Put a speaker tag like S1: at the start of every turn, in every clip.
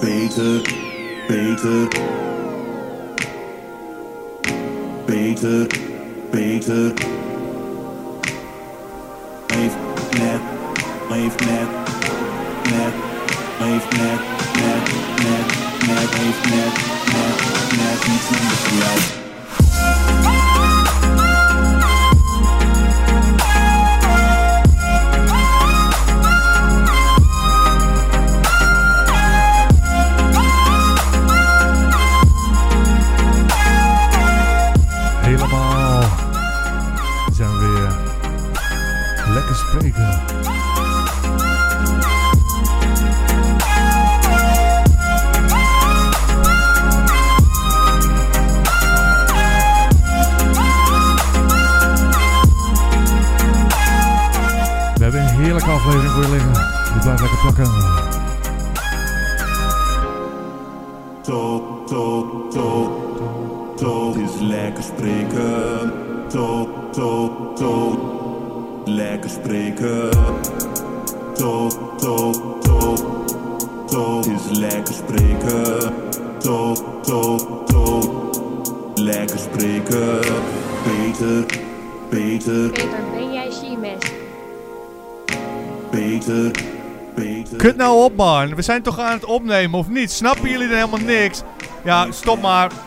S1: Beter, beter. Beter, beter. Leef net, leef net, net, leef net, net, net, net, leef net, net, net, iets minder voor jou.
S2: Helemaal. We zijn weer. Lekker spreken. We hebben een heerlijke aflevering voor je liggen. Die blijft lekker plakken.
S1: Talk, talk, talk. Talk is lekker spreken. Talk, talk, talk. Lekker spreken. Talk, talk, talk. Talk is lekker spreken. Talk, talk, talk. Lekker spreken. Beter, beter,
S3: Peter, ben jij Chimes?
S1: beter, beter.
S4: Kut nou op, man. We zijn toch aan het opnemen, of niet? Snappen jullie dan helemaal niks? Ja, stop maar.
S1: Net,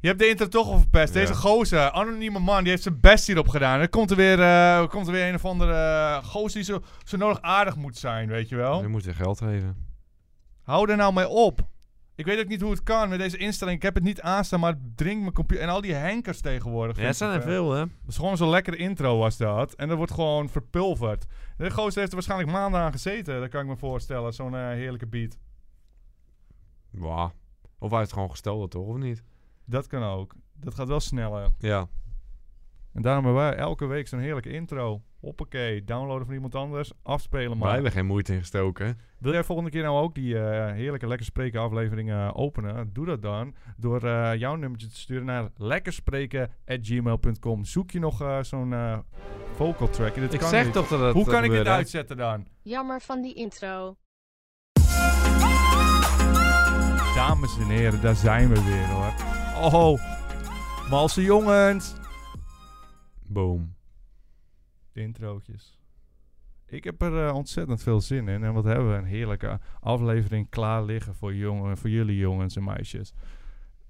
S4: Je hebt de intro toch al verpest. Deze gozer, anonieme man, die heeft zijn best hierop gedaan. Er komt er weer, eh, komt er weer een of andere eh, gozer die zo, zo nodig aardig moet zijn, weet je wel.
S5: Je moet je geld geven.
S4: Hou er nou mee op. Ik weet ook niet hoe het kan met deze instelling. Ik heb het niet aanstaan, maar het dringt mijn computer. En al die henkers tegenwoordig.
S5: Ja, het zijn er veel, hè?
S4: Dat is gewoon zo'n lekkere intro was dat. En dat wordt gewoon verpulverd. De gozer heeft er waarschijnlijk maanden aan gezeten. Dat kan ik me voorstellen. Zo'n eh, heerlijke beat.
S5: Ja. Of hij heeft gewoon gesteld, toch? Of niet?
S4: Dat kan ook. Dat gaat wel sneller.
S5: Ja.
S4: En daarom hebben wij elke week zo'n heerlijke intro. Hoppakee, downloaden van iemand anders, afspelen
S5: Maar wij
S4: maar.
S5: hebben geen moeite in gestoken. hè?
S4: Wil jij volgende keer nou ook die eh, heerlijke Lekker Spreken aflevering eh, openen? Doe dat dan door eh, jouw nummertje te sturen naar lekkerspreken.gmail.com. Zoek je nog eh, zo'n eh, vocal track? Dit
S5: Ik
S4: kan
S5: zeg
S4: niet.
S5: toch dat het eh,
S4: Hoe kan ik dit uitzetten dan?
S3: Jammer van die intro.
S4: Dames en heren, daar zijn we weer hoor. Oh, malse jongens.
S5: Boom.
S4: De introotjes. Ik heb er eh, ontzettend veel zin in. En wat hebben we? Een heerlijke aflevering klaar liggen voor, jongen, voor jullie jongens en meisjes.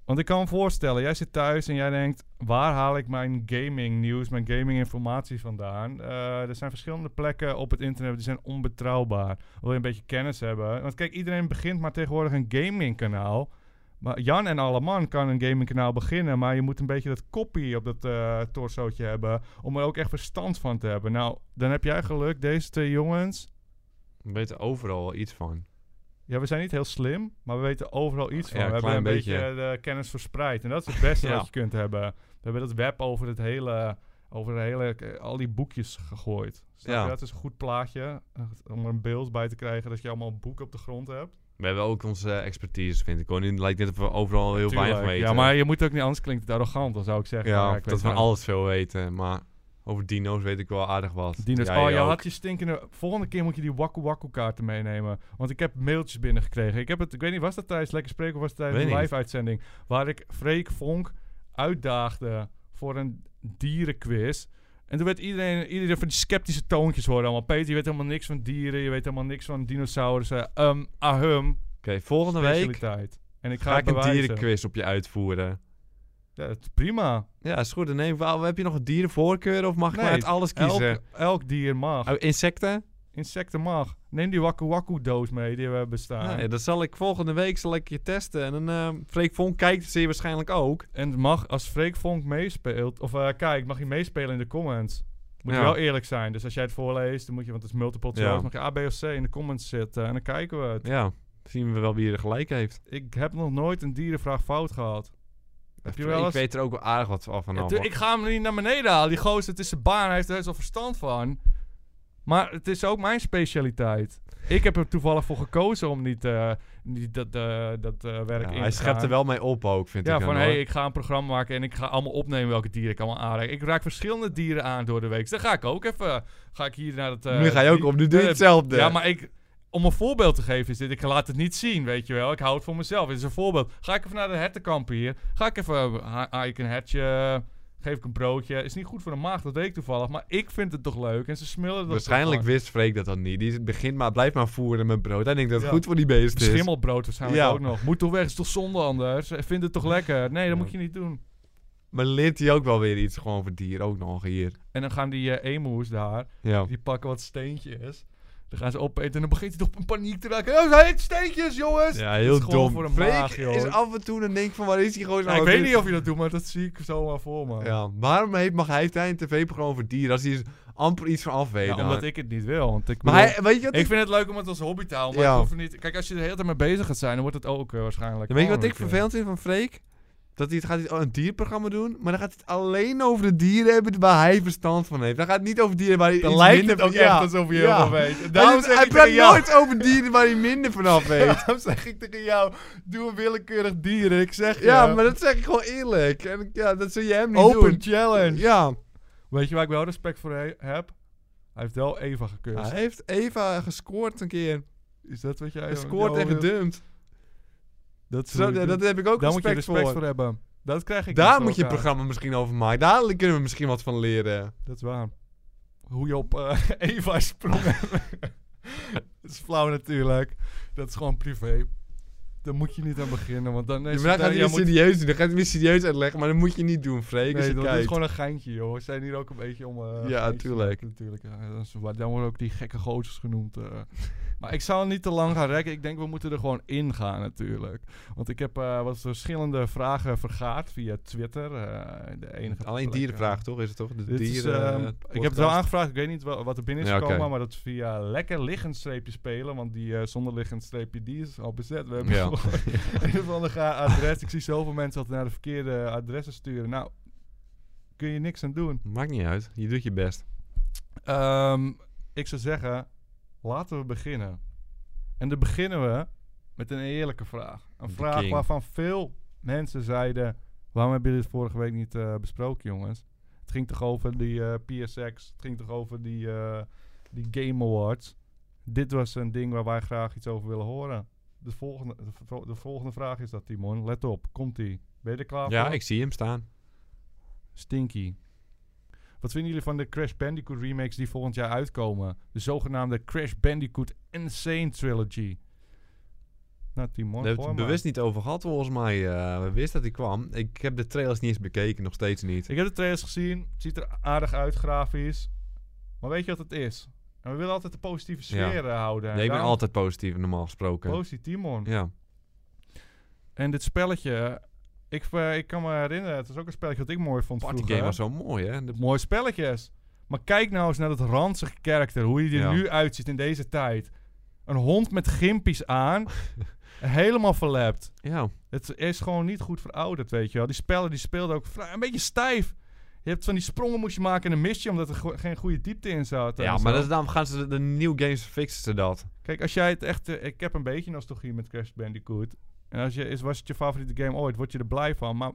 S4: Want ik kan me voorstellen, jij zit thuis en jij denkt... waar haal ik mijn gaming nieuws, mijn gaming informatie vandaan? Eh, er zijn verschillende plekken op het internet die zijn onbetrouwbaar. Wil je een beetje kennis hebben? Want kijk, iedereen begint maar tegenwoordig een gaming kanaal. Maar Jan en Alleman kan een gamingkanaal beginnen, maar je moet een beetje dat kopie op dat eh torsootje hebben om er ook echt verstand van te hebben. Nou, dan heb jij geluk, deze twee jongens.
S5: We weten overal wel iets van.
S4: Ja, we zijn niet heel slim, maar we weten overal iets
S5: Ja,
S4: van.
S5: een
S4: we hebben
S5: klein
S4: een beetje, eh,
S5: beetje.
S4: de kennis verspreid en dat is het beste
S5: Ja.
S4: wat je kunt hebben. We hebben dat web over het hele, over de hele, eh, al die boekjes gegooid. Snap
S5: Ja.
S4: je? Dat is een goed plaatje eh, om er een beeld bij te krijgen dat je allemaal boeken op de grond hebt.
S5: We hebben ook onze eh, expertise, vind ik. Gewoon, het lijkt net of we overal heel
S4: Tuurlijk.
S5: weinig weten.
S4: Ja, maar je moet ook niet, anders klinkt het arrogant, dan zou ik zeggen.
S5: Ja,
S4: ik weet
S5: dat we
S4: wel.
S5: alles veel weten. Maar over dino's weet ik wel aardig wat.
S4: Dino's.
S5: Jij
S4: oh, je
S5: ook.
S4: had je stinkende... Volgende keer moet je die wakku wakku kaarten meenemen. Want ik heb mailtjes binnengekregen. Ik heb het... Ik weet niet, was dat tijdens Lekker Spreken of was dat tijdens
S5: Weet
S4: een
S5: niet.
S4: live-uitzending? Waar ik Freek Vonk uitdaagde voor een dierenquiz. En toen werd iedereen... Iedereen van die sceptische toontjes hoorde allemaal. Peter, je weet helemaal niks van dieren. Je weet helemaal niks van dinosaurussen. Um, ahum.
S5: Oké, volgende week
S4: Specialiteit. En ik ga,
S5: ga ik
S4: het
S5: een
S4: bewijzen.
S5: dierenquiz op je uitvoeren.
S4: Ja, dat is prima.
S5: Ja, is goed. Nee, wel, heb je nog een dierenvoorkeur of mag ik
S4: Nee,
S5: maar uit alles
S4: Elk,
S5: kiezen?
S4: elk dier mag.
S5: Oh, Insecten?
S4: Insecten mag. Neem die wakku wakku doos mee die we hebben staan.
S5: Nee, dan Nou, zal ik volgende week zal ik je testen. En dan eh Freek Vonk kijkt het zeer waarschijnlijk ook.
S4: En mag, als Freek Vonk meespeelt, of eh, kijk, mag je meespelen in de comments. Moet je
S5: Ja.
S4: wel eerlijk zijn. Dus als jij het voorleest, dan moet je, want het is multiple
S5: Ja.
S4: choice, mag je A, B of C in de comments zitten. En dan kijken we het.
S5: Ja, zien we wel wie er gelijk heeft.
S4: Ik heb nog nooit een dierenvraag fout gehad. Heb je wel
S5: Ik
S4: eens...
S5: weet er ook wel aardig wat van
S4: Ja,
S5: af.
S4: tu- ik ga hem niet naar beneden halen. Die gozer, het is zijn baan, hij heeft er best wel verstand van. Maar het is ook mijn specialiteit. Ik heb er toevallig voor gekozen om niet, eh, niet dat, eh, dat eh, werk in te
S5: hij schept
S4: gaan.
S5: er wel mee op ook, vind
S4: Ja,
S5: ik. dan,
S4: van hé,
S5: hoor.
S4: hey, ik ga een programma maken en ik ga allemaal opnemen welke dieren ik allemaal aanraak. Ik raak verschillende dieren aan door de week. Dus Dan ga ik ook even. Ga ik hier naar het. eh,
S5: nu ga je ook
S4: die-
S5: op, nu doe je
S4: eh,
S5: hetzelfde.
S4: Ja, maar ik. om een voorbeeld te geven is dit, ik laat het niet zien, weet je wel. Ik hou het voor mezelf. Dit is een voorbeeld. Ga ik even naar de hertenkamp hier. Ga ik even, eh, ha- haal ik een hertje, geef ik een broodje. Is niet goed voor de maag, dat weet ik toevallig. Maar ik vind het toch leuk. En ze smullen dat
S5: Waarschijnlijk
S4: weer.
S5: wist Freek dat dan niet. Die begint maar, blijf maar voeren met brood. Hij denkt dat het
S4: Ja.
S5: goed voor die beesten is.
S4: Schimmelbrood waarschijnlijk
S5: Ja.
S4: ook nog. Moet toch weg, is toch zonde anders. Eh, Vind het toch lekker. Nee, dat
S5: Ja.
S4: moet je niet doen.
S5: Maar leert hij ook wel weer iets gewoon voor dieren ook nog hier.
S4: En dan gaan die eh emoes daar,
S5: Ja.
S4: Die pakken wat steentjes. Dan gaan ze opeten en dan begint hij toch in paniek te raken. Oh, hij eet steentjes, jongens!
S5: Ja,
S4: Dat
S5: heel
S4: is gewoon
S5: dom.
S4: voor de
S5: Freek
S4: maag, joh.
S5: is af en toe en denkt van, waar is die gewoon
S4: Ja, ik weet niet of je dat doet, maar dat zie ik zomaar voor me.
S5: Ja, waarom heeft, mag hij, heeft hij een tv-programma voor dieren als hij er amper iets van af weet?
S4: Ja,
S5: dan?
S4: omdat ik het niet wil. Want ik
S5: Maar
S4: bedoel-
S5: hij, weet je wat
S4: ik vind het leuk om het als hobby te houden, maar
S5: Ja.
S4: ik hoef er niet... Kijk, als je er de hele tijd mee bezig gaat zijn, dan wordt het ook eh, waarschijnlijk...
S5: Ja, weet je wat
S4: gewoon
S5: ik
S4: een
S5: vervelend vind van Freek? Dat hij het gaat hij een dierprogramma doen, maar dan gaat hij het alleen over de dieren hebben waar hij verstand van heeft. Dan gaat het niet over dieren waar hij
S4: keer. Dan
S5: iets
S4: lijkt
S5: minder
S4: het ook
S5: van- ja.
S4: echt alsof je heel
S5: Ja.
S4: veel weet. En
S5: Hij,
S4: Daarom
S5: doet-
S4: zeg
S5: hij
S4: ik tegen
S5: praat
S4: jou...
S5: nooit over dieren waar hij minder vanaf weet.
S4: Daarom zeg ik tegen jou, doe een willekeurig dier. Ik zeg
S5: ja,
S4: je,
S5: maar dat zeg eh, ik gewoon eerlijk. En ik- ja, dat zul je hem niet
S4: open
S5: doen.
S4: challenge.
S5: Ja,
S4: Weet je waar ik wel respect voor he- heb? Hij heeft wel Eva gekust.
S5: hij heeft Eva gescoord een keer.
S4: Is dat wat jij... Oh,
S5: Hij scoort en
S4: jou-
S5: gedumpt.
S4: Dat,
S5: Zo, ja, dat heb ik ook
S4: Daar moet je
S5: respect,
S4: respect voor.
S5: voor.
S4: hebben. Dat krijg ik dus niet
S5: Daar
S4: voor
S5: moet je het
S4: elkaar.
S5: programma misschien over maken. Daar kunnen we misschien wat van leren.
S4: Dat is waar. Hoe je op eh, Eva sprong. dat is flauw natuurlijk. Dat is gewoon privé. Daar moet je niet aan beginnen, want dan
S5: Ja,
S4: is
S5: maar dan
S4: het-
S5: gaat hij
S4: jij
S5: weer
S4: moet-
S5: serieus doen. Dan gaat hij weer serieus uitleggen. Maar dat moet je niet doen, Freek. als
S4: Nee,
S5: je
S4: dat is
S5: kijkt.
S4: gewoon een geintje, joh. We zijn hier ook een beetje om... eh,
S5: Ja,
S4: geintjes te
S5: tuurlijk.
S4: maken, natuurlijk. Ja, eh, dat is waar. dan worden ook die gekke gozers genoemd. eh. Maar ik zou niet te lang gaan rekken. Ik denk, we moeten er gewoon in gaan natuurlijk. Want ik heb eh, wat verschillende vragen vergaard via Twitter. eh, de enige
S5: Alleen
S4: plek, eh,
S5: dierenvraag, toch? Is het toch? De
S4: Dit is,
S5: dieren.
S4: ehm,
S5: eh,
S4: ik heb het wel
S5: podcast.
S4: aangevraagd, ik weet niet wa- wat er binnen is
S5: Ja, oké.
S4: gekomen, maar dat is via lekker liggend streepje spelen, want die eh, zonder liggend streepje die is al bezet. We hebben
S5: Ja.
S4: gewoon een of ander ga- adres. Ik zie zoveel mensen altijd naar de verkeerde adressen sturen. Nou, kun je niks aan doen.
S5: Maakt niet uit. Je doet je best.
S4: Ehm, ik zou zeggen, laten we beginnen. En dan beginnen we met een eerlijke vraag. Een
S5: The
S4: vraag
S5: king.
S4: waarvan veel mensen zeiden... waarom hebben jullie dit vorige week niet eh, besproken, jongens? Het ging toch over die eh, PSX? Het ging toch over die, eh, die Game Awards? Dit was een ding waar wij graag iets over willen horen. De volgende, de, vo- de volgende vraag is dat, Timon. Let op, komt-ie. Ben je er klaar voor?
S5: Ja, ik zie hem staan.
S4: Stinky. Wat vinden jullie van de Crash Bandicoot remakes die volgend jaar uitkomen? De zogenaamde Crash Bandicoot Insane Trilogy. Nou, Timon,
S5: Daar hebben we
S4: gooi
S5: het
S4: maar.
S5: bewust niet over gehad, volgens mij. eh, we wisten dat hij kwam. Ik heb de trailers niet eens bekeken, nog steeds niet.
S4: Ik heb de trailers gezien. Het ziet er aardig uit, grafisch. Maar weet je wat het is? En we willen altijd de positieve
S5: Ja.
S4: sfeer eh, houden.
S5: Nee, ik ben
S4: Daarom-
S5: altijd positief, normaal gesproken.
S4: Positief, Timon.
S5: ja.
S4: En dit spelletje... Ik, eh, ik kan me herinneren, het is ook een spelletje wat ik mooi vond vroeger.
S5: Partygame was zo mooi, hè? De-
S4: Mooie spelletjes. Maar kijk nou eens naar dat ranzige karakter. Hoe hij er
S5: Ja.
S4: nu uitziet in deze tijd. Een hond met gimpies aan. helemaal verlept.
S5: Ja.
S4: Het is gewoon niet goed verouderd, weet je wel. Die spellen die speelden ook vrij, een beetje stijf. Je hebt van die sprongen moest je maken en dan mist je omdat er go- geen goede diepte in zat. en
S5: ja,
S4: zo.
S5: maar dat is, daarom gaan ze de, de new games fixen ze dat.
S4: Kijk, als jij het echt... eh, ik heb een beetje nostalgie met Crash Bandicoot. En als je, is, was het je favoriete game ooit, word je er blij van. Maar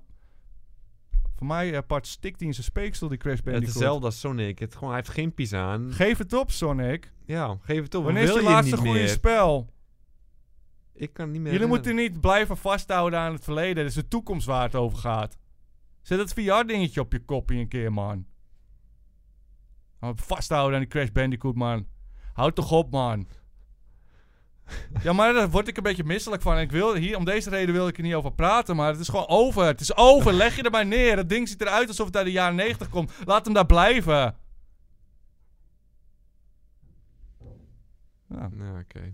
S4: voor mij apart stikt hij in zijn speeksel, die Crash
S5: Het is
S4: Bandicoot.
S5: hetzelfde als Sonic. Het, gewoon, hij heeft geen pies aan.
S4: Geef het op, Sonic.
S5: Ja, geef het op.
S4: Wanneer is
S5: wil
S4: je
S5: je
S4: laatste
S5: niet
S4: goede
S5: meer?
S4: spel?
S5: Ik kan het niet meer
S4: Jullie
S5: herinneren.
S4: moeten niet blijven vasthouden aan het verleden. Dat is de toekomst waar het over gaat. Zet dat VR-dingetje op je kopie een keer, man. Nou, Vasthouden aan die Crash Bandicoot, man. Houd toch op, man. ja, maar daar word ik een beetje misselijk van. En ik wil hier, om deze reden wil ik er niet over praten, maar het is gewoon over. Het is over. Leg je erbij neer. Dat ding ziet eruit alsof het uit de jaren 90 komt. Laat hem daar blijven. Ja.
S5: Ja, oké.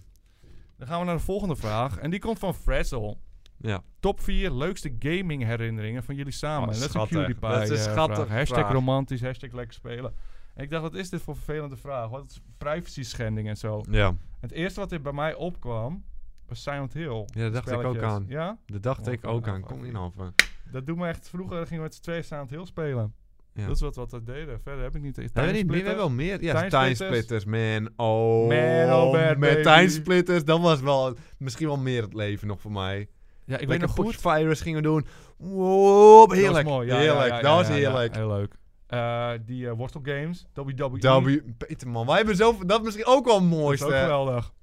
S4: Dan gaan we naar de volgende vraag. En die komt van Frazzle.
S5: Ja.
S4: Top 4 leukste gaming herinneringen van jullie samen.
S5: Oh,
S4: En dat is
S5: schattig.
S4: een PewDiePie
S5: Dat is een
S4: eh,
S5: schattige
S4: vraag. Hashtag
S5: vraag.
S4: romantisch, hashtag lekker spelen. En ik dacht, wat is dit voor vervelende vraag? Wat is privacy schending en zo?
S5: Ja,
S4: Het eerste wat er bij mij opkwam, was Silent Hill.
S5: Ja, dat dacht ik ook
S4: Spelletjes.
S5: aan.
S4: Ja?
S5: daar dacht
S4: Oh,
S5: ik
S4: van
S5: ook
S4: de
S5: aan.
S4: af-
S5: Kom in over.
S4: Dat doet me echt... Vroeger gingen we met z'n tweeën Silent Hill spelen.
S5: Ja.
S4: Dat is wat, wat we deden. Verder heb ik niet...
S5: We hebben, niet, we hebben wel meer. Ja,
S4: Tijnsplitters.
S5: tijnsplitters, man. Oh,
S4: Man, oh, man,
S5: met
S4: baby.
S5: tijnsplitters. Dat was wel misschien wel meer het leven nog voor mij.
S4: Ja, ik weet
S5: Lekker
S4: nog goed.
S5: Potje Virus gingen we doen. Wow,
S4: Dat was
S5: heerlijk.
S4: mooi, ja, ja,
S5: heerlijk,
S4: ja, ja,
S5: dat was
S4: ja, ja,
S5: heerlijk.
S4: heel leuk. Eh, die eh, Worstel Games, WWE.
S5: E. W, Peter man, wij hebben zo, dat is misschien ook wel het
S4: Dat is
S5: mooiste.
S4: ook geweldig. eh,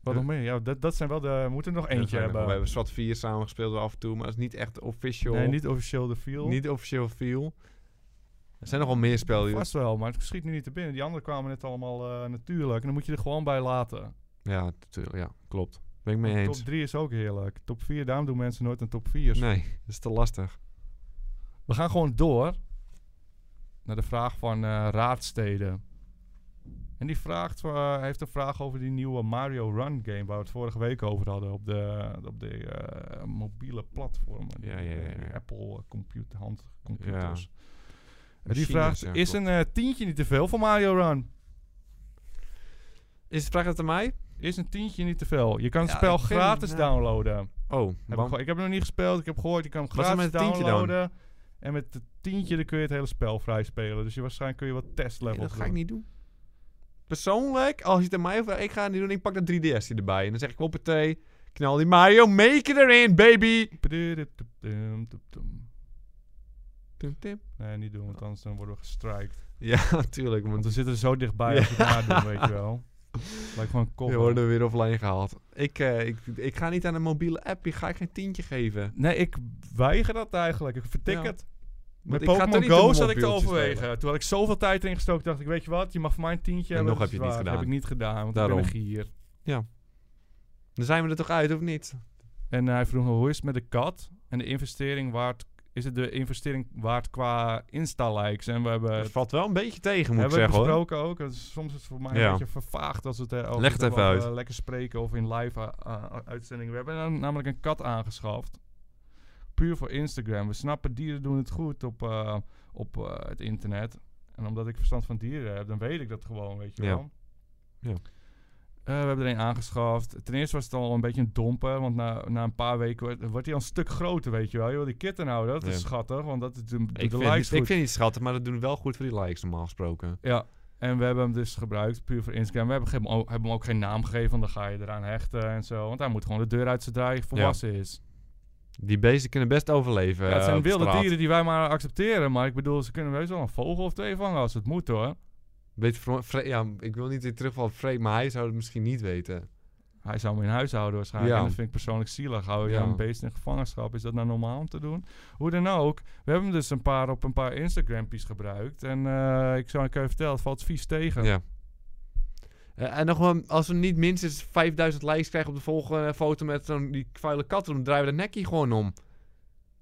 S4: Wat nog meer? Ja, dat, dat zijn wel de... We moeten er nog eentje
S5: We
S4: hebben.
S5: hebben SWAT 4 samen gespeeld wel af en toe, maar dat is niet echt official.
S4: Nee, niet officieel de feel.
S5: Niet dus. officieel veel. Er zijn nogal meer spellen. die-
S4: Vast wel, maar het schiet nu niet te binnen. Die anderen kwamen net allemaal eh, natuurlijk. En dan moet je er gewoon bij laten.
S5: Ja, natuurlijk. Ja, klopt. Ben ik mee
S4: Want
S5: eens.
S4: Top 3 is ook heerlijk. Top 4, daarom doen mensen nooit een top 4.
S5: Nee, dat is te lastig.
S4: We gaan gewoon door naar de vraag van eh, Raadsteden. En die vraagt, eh, heeft een vraag over die nieuwe Mario Run game... waar we het vorige week over hadden op de, op de eh, mobiele platformen.
S5: Ja, ja, ja, ja.
S4: Apple eh, computer, handcomputers. En die
S5: Machines,
S4: vraagt,
S5: ja,
S4: is
S5: klopt.
S4: een eh, tientje niet te veel voor Mario Run?
S5: Is het vraag het aan mij?
S4: Is een tientje niet te veel. Je kan het
S5: Ja,
S4: spel
S5: ik vind-
S4: gratis
S5: ja.
S4: downloaden.
S5: Oh,
S4: Heb ik,
S5: want-
S4: geho- ik heb het nog niet gespeeld. Ik heb gehoord, je kan hem
S5: Wat is er
S4: gratis
S5: met het tientje dan?
S4: downloaden. En met het tientje dan kun je het hele spel vrij spelen. Dus je, waarschijnlijk kun je wat
S5: Nee,
S4: testlevels
S5: dat ga ik
S4: doen.
S5: niet doen. Persoonlijk, als je het aan mij vraagt, ik ga het niet doen. Ik pak dat 3DS hier erbij. En dan zeg ik, hoppatee, knal die Mario Maker erin, baby!
S4: Pdudupdupdum.
S5: Tim, tim.
S4: Nee, niet doen, want anders dan worden we gestrikt.
S5: Ja, tuurlijk.
S4: Want
S5: Want
S4: we zitten er zo dichtbij als we het nadoen, weet je wel. Lijkt gewoon kop.
S5: we worden weer offline gehaald. Ik, eh, ik, ik ga niet aan een mobiele app, die ga ik geen tientje geven.
S4: Nee, ik weiger dat eigenlijk. Ik vertik
S5: Ja.
S4: het.
S5: Want
S4: Met
S5: ik ga toch
S4: Pokémon
S5: niet op
S4: Go
S5: een
S4: zat ik te
S5: mobieltje
S4: overwegen.
S5: spelen.
S4: Toen had ik zoveel tijd erin gestoken, dacht ik, weet je wat, je mag voor mij een tientje
S5: En
S4: hebben.
S5: nog
S4: dat
S5: heb
S4: is
S5: je het niet
S4: waar.
S5: gedaan.
S4: heb ik niet gedaan, want
S5: Daarom.
S4: ik ben een gier.
S5: Dan zijn we er toch uit, of niet?
S4: En eh, hij vroeg hoe is het met de kat? En de investering waard, is het de investering waard qua Insta-likes? En we hebben,
S5: Het valt wel een beetje tegen, moet ik
S4: hebben we het
S5: zeggen hoor.
S4: besproken ook. Het is, soms is het voor mij
S5: Ja.
S4: een beetje vervaagd als we het eh, over
S5: Leg het even
S4: over,
S5: uit.
S4: eh, lekker spreken of in live eh, eh, uitzendingen. We hebben nam- namelijk een kat aangeschaft. Puur voor Instagram. We snappen, dieren doen het goed op, eh, op eh, het internet. En omdat ik verstand van dieren heb, dan weet ik dat gewoon, weet je
S5: Ja.
S4: wel.
S5: Ja.
S4: Eh, we hebben er een aangeschaft. Ten eerste was het al een beetje een domper, want na, na een paar weken wordt, wordt hij al een stuk groter, weet je wel. Joh, die kitten nou, dat
S5: Ja.
S4: is schattig, want dat is de, de
S5: Ik vind,
S4: likes
S5: het-
S4: goed.
S5: ik vind het schattig, maar dat doen we wel goed voor die likes normaal gesproken.
S4: Ja, en we hebben hem dus gebruikt puur voor Instagram. We hebben, ge- o- hebben hem ook geen naam gegeven, want dan ga je eraan hechten en zo. Want hij moet gewoon de deur uit zodra hij volwassen is.
S5: Die beesten kunnen best overleven.
S4: Ja, het
S5: eh,
S4: zijn
S5: op
S4: wilde
S5: straat.
S4: dieren die wij maar accepteren. Maar ik bedoel, ze kunnen heus wel een vogel of twee vangen als het moet hoor.
S5: Beetje vro- vre- ja, ik wil niet in terugvallen op Freek, maar hij zou het misschien niet weten.
S4: Hij zou hem in huis houden waarschijnlijk.
S5: Ja.
S4: En dat vind ik persoonlijk zielig. Hou je
S5: Ja.
S4: een beest in gevangenschap? Is dat nou normaal om te doen? Hoe dan ook. We hebben hem dus een paar op een paar Instagrampies gebruikt. En eh, ik zou ik je vertellen, het valt vies tegen.
S5: Ja. Eh, en nog gewoon, als we niet minstens 5000 likes krijgen op de volgende eh, foto met zo'n die vuile kat, dan draaien we de nekje gewoon om.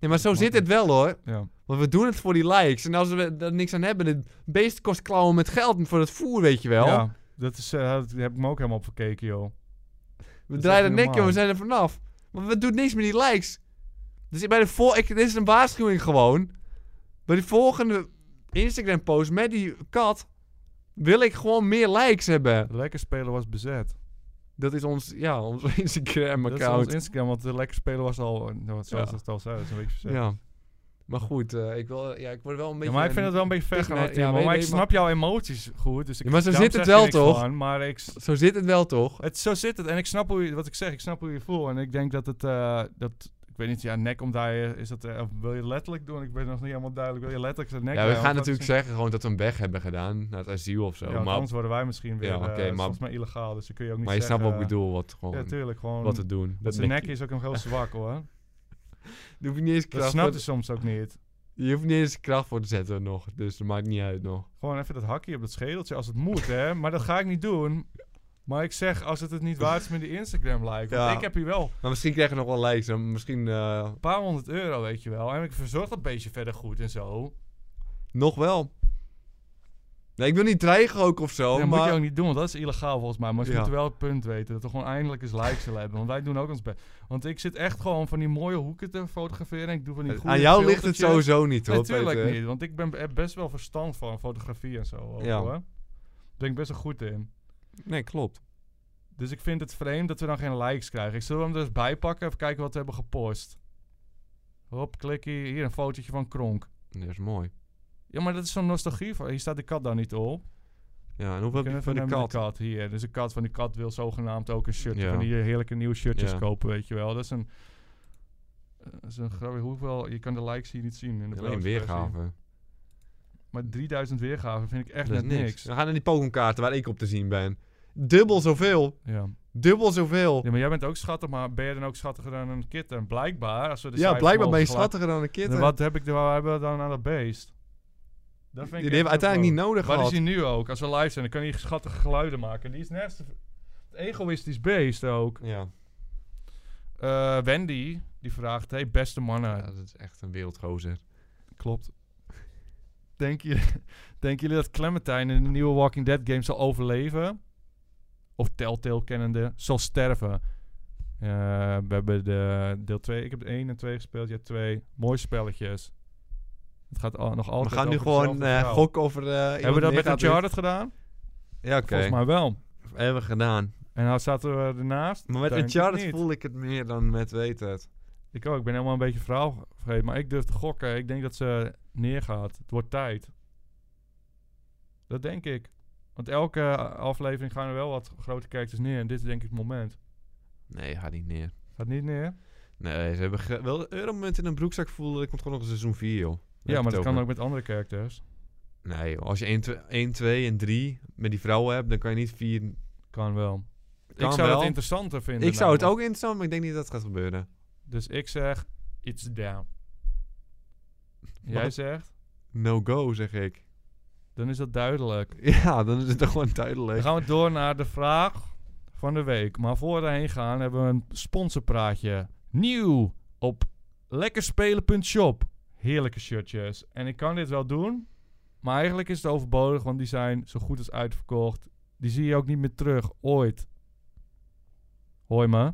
S5: Nee, maar zo zit het wel hoor.
S4: Ja.
S5: Want we doen het voor die likes. En als we er niks aan hebben, het beest kost klauwen met geld voor het voer, weet je wel.
S4: Ja, dat is, eh, dat heb ik me ook helemaal op verkeken, joh.
S5: we
S4: is
S5: draaien
S4: echt
S5: de
S4: niet
S5: nekje om,
S4: normaal.
S5: we zijn er vanaf. Maar we doen niks met die likes. Dus bij de vol ik, dit is een waarschuwing gewoon. Bij die volgende Instagram post met die kat wil ik gewoon meer likes hebben.
S4: Lekker spelen was bezet.
S5: Dat is ons, ja, ons
S4: Dat
S5: Instagram
S4: is ons
S5: account.
S4: Instagram, want de lekker spelen was al, eh, nou, zoals
S5: Ja.
S4: het al zei, dat is een beetje verzet. Ja.
S5: Ja. Maar goed, eh, ik, wil, ja, ik word wel een beetje...
S4: maar ik vind het wel een beetje ver
S5: tegen-
S4: gaan,
S5: nee,
S4: Timo,
S5: ja,
S4: maar
S5: nee,
S4: ik
S5: nee,
S4: snap jouw emoties goed. Dus ik,
S5: Ja, maar zo
S4: daarom
S5: zit het
S4: zeg ik
S5: wel,
S4: niks
S5: toch?
S4: van, maar ik, s-
S5: Zo zit het wel toch?
S4: het, zo zit het. En ik snap hoe je, wat ik zeg, ik snap hoe je voelt. En ik denk dat het, eh, dat, ik weet niet, ja, nek omdraaien, is dat, eh, of wil je letterlijk doen? Ik weet nog niet helemaal duidelijk, wil je letterlijk zijn nek
S5: ja, we
S4: draaien?
S5: gaan
S4: Want dat
S5: natuurlijk
S4: is-
S5: zeggen gewoon dat we hem weg hebben gedaan. Naar het asiel of zo.
S4: Ja, want
S5: maar
S4: anders worden wij misschien weer,
S5: Ja,
S4: ja,
S5: oké, maar-
S4: volgens mij illegaal, dus dan kun je ook niet
S5: maar je snapt
S4: zeggen. eh,
S5: wat ik bedoel, wat, gewoon,
S4: Ja, tuurlijk, gewoon,
S5: wat we doen.
S4: dat zijn nek is ook nog heel zwak, hoor.
S5: Je hoeft niet eens
S4: Dat
S5: kracht,
S4: snapt
S5: voor,
S4: je soms ook niet.
S5: je hoeft niet eens kracht voor te zetten nog. Dus dat maakt niet uit nog.
S4: Gewoon even dat hakje op dat schedeltje als het moet, hè. Maar dat ga ik niet doen. Maar ik zeg, als het het niet waard is met die Instagram like. Want
S5: Ja.
S4: ik heb hier wel
S5: Maar misschien krijgen we nog wel likes. en Misschien eh,
S4: een paar honderd euro, weet je wel. En ik verzorg dat beetje verder goed en zo.
S5: nog wel. Nee, ik wil niet dreigen ook of zo,
S4: dat moet
S5: maar...
S4: je ook niet doen, want dat is illegaal volgens mij. Maar ze
S5: Ja.
S4: moeten wel het punt weten dat we gewoon eindelijk eens likes zullen hebben. Want wij doen ook ons best. Want ik zit echt gewoon van die mooie hoeken te fotograferen. En ik doe van die goede
S5: Eh, Aan jou ligt het
S4: filtertjes.
S5: sowieso niet, hoor.
S4: Natuurlijk
S5: Peter.
S4: niet, want ik ben heb best wel verstand van fotografie en zo. Ook,
S5: Ja.
S4: hoor. Daar ben ik best wel goed in.
S5: Nee, klopt.
S4: Dus ik vind het vreemd dat we dan geen likes krijgen. Ik zal hem dus bijpakken. Even kijken wat we hebben gepost. Hop, klikkie. Hier een fotootje van Kronk.
S5: Dat is mooi.
S4: Ja, maar dat is zo'n nostalgie. voor- Hier staat de kat dan niet op.
S5: Ja, en hoeveel
S4: We
S5: heb je
S4: kunnen
S5: van
S4: even
S5: de
S4: naar
S5: kat?
S4: de kat hier. Dus de kat van die kat wil zogenaamd ook een shirtje.
S5: Ja.
S4: Van die heerlijke nieuwe shirtjes
S5: Ja.
S4: kopen, weet je wel. Dat is een... eh, Dat is een grapje. Hoeveel... Je kan de likes hier niet zien. In de
S5: Alleen
S4: browserversie.
S5: weergave.
S4: Maar 3000 weergaven vind ik echt
S5: Dat is
S4: net niks.
S5: niks. We gaan naar die Pokémon kaarten waar ik op te zien ben. Dubbel zoveel.
S4: Ja.
S5: Dubbel zoveel.
S4: Ja, maar jij bent ook schattig, maar ben je dan ook schattiger dan een kitten? Blijkbaar. Als we de
S5: Ja,
S4: cijfers
S5: blijkbaar
S4: mogen
S5: ben je
S4: vergelijken-
S5: schattiger dan een kitten.
S4: En Wat heb ik er, waar hebben we dan aan dat beest? Dat vind
S5: Die
S4: ik
S5: hebben we
S4: echt
S5: uiteindelijk niet
S4: wel-
S5: nodig
S4: Wat
S5: gehad.
S4: is hij nu ook? Als we live zijn, dan kan hij schattige geluiden maken. Die is nergens te... Het egoïstisch beest ook.
S5: Ja.
S4: Eh, Wendy, die vraagt... Hey, beste mannen.
S5: ja, dat is echt een wereldgozer.
S4: Klopt. Denk je, denken jullie dat Clementine in de nieuwe Walking Dead game zal overleven? Of Telltale kennende, zal sterven? Eh, we hebben de deel 2, ik heb 1 en 2 gespeeld, jij 2. Mooie spelletjes. Het gaat al, nog
S5: We
S4: altijd
S5: gaan nu
S4: over
S5: gewoon
S4: dezelfde
S5: eh,
S4: vrouw.
S5: gokken over... eh,
S4: Hebben we
S5: iemand
S4: dat
S5: meer
S4: met
S5: gaat
S4: Uncharted gedaan?
S5: winnen. Ja, oké.
S4: Volgens mij wel.
S5: Hebben we gedaan.
S4: En nou zaten we ernaast.
S5: Maar met
S4: Denk ik
S5: Uncharted
S4: niet.
S5: voel ik het meer dan met weet het.
S4: Ik ook, ik ben helemaal een beetje verhaal vergeten. Maar ik durf te gokken. Ik denk dat ze neergaat. Het wordt tijd. Dat denk ik. Want elke eh, aflevering gaan er wel wat grote kijkers neer. En dit is denk ik het moment.
S5: Nee, gaat niet neer.
S4: Gaat niet neer?
S5: Nee, ze hebben ge- wel een euromunt in een broekzak voelen. Er komt gewoon nog een seizoen 4, joh. Daar heb
S4: ja,
S5: ik
S4: maar
S5: het
S4: dat kan
S5: over.
S4: ook met andere characters.
S5: Nee, joh. als je 1, 2, 1, 2 en 3 met die vrouwen hebt, dan kan je niet 4...
S4: Kan wel.
S5: Kan
S4: ik zou
S5: wel.
S4: het interessanter vinden.
S5: Ik zou het ook
S4: namelijk.
S5: interessant, maar ik denk niet dat het gaat gebeuren.
S4: Dus ik zeg, it's down. Jij
S5: Wat?
S4: zegt,
S5: No go, zeg ik.
S4: dan is dat duidelijk.
S5: Ja, dan is het toch gewoon duidelijk.
S4: Dan gaan we door naar de vraag van de week. Maar voor we daarheen gaan hebben we een sponsorpraatje. Nieuw op lekkerspelen.shop. Heerlijke shirtjes. En ik kan dit wel doen. Maar eigenlijk is het overbodig, want die zijn zo goed als uitverkocht. Die zie je ook niet meer terug, ooit. Hoi me.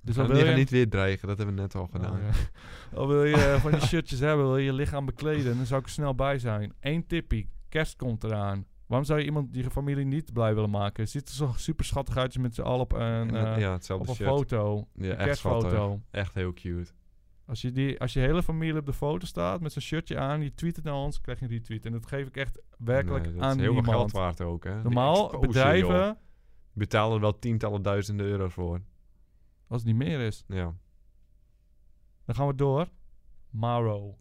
S4: Dus
S5: Gaan
S4: al wil
S5: we die
S4: je,
S5: gaan niet weer dreigen, dat hebben we net al gedaan.
S4: Oh, ja. Al wil je eh, van die shirtjes hebben, wil je je lichaam bekleden, dan zou ik er snel bij zijn. Eén tippie, kerst komt eraan. Waarom zou je iemand die je familie niet blij willen maken? Het ziet er zo super schattig uit met z'n allen op een,
S5: En,
S4: eh,
S5: eh, ja, hetzelfde
S4: op een
S5: shirt.
S4: foto.
S5: Ja,
S4: een
S5: echt schattig.
S4: kerstfoto.
S5: Echt heel cute.
S4: Als je, die, als je hele familie op de foto staat met zo'n shirtje aan, je tweet het naar ons, krijg je een retweet. En dat geef ik echt werkelijk
S5: Nee, dat
S4: aan
S5: is heel veel geld
S4: niemand.
S5: waard ook, hè. Die
S4: Normaal,
S5: exposure,
S4: bedrijven,
S5: joh. Betalen er wel tientallen duizenden euro's voor.
S4: als het niet meer is,
S5: Ja.
S4: dan gaan we door. Maro,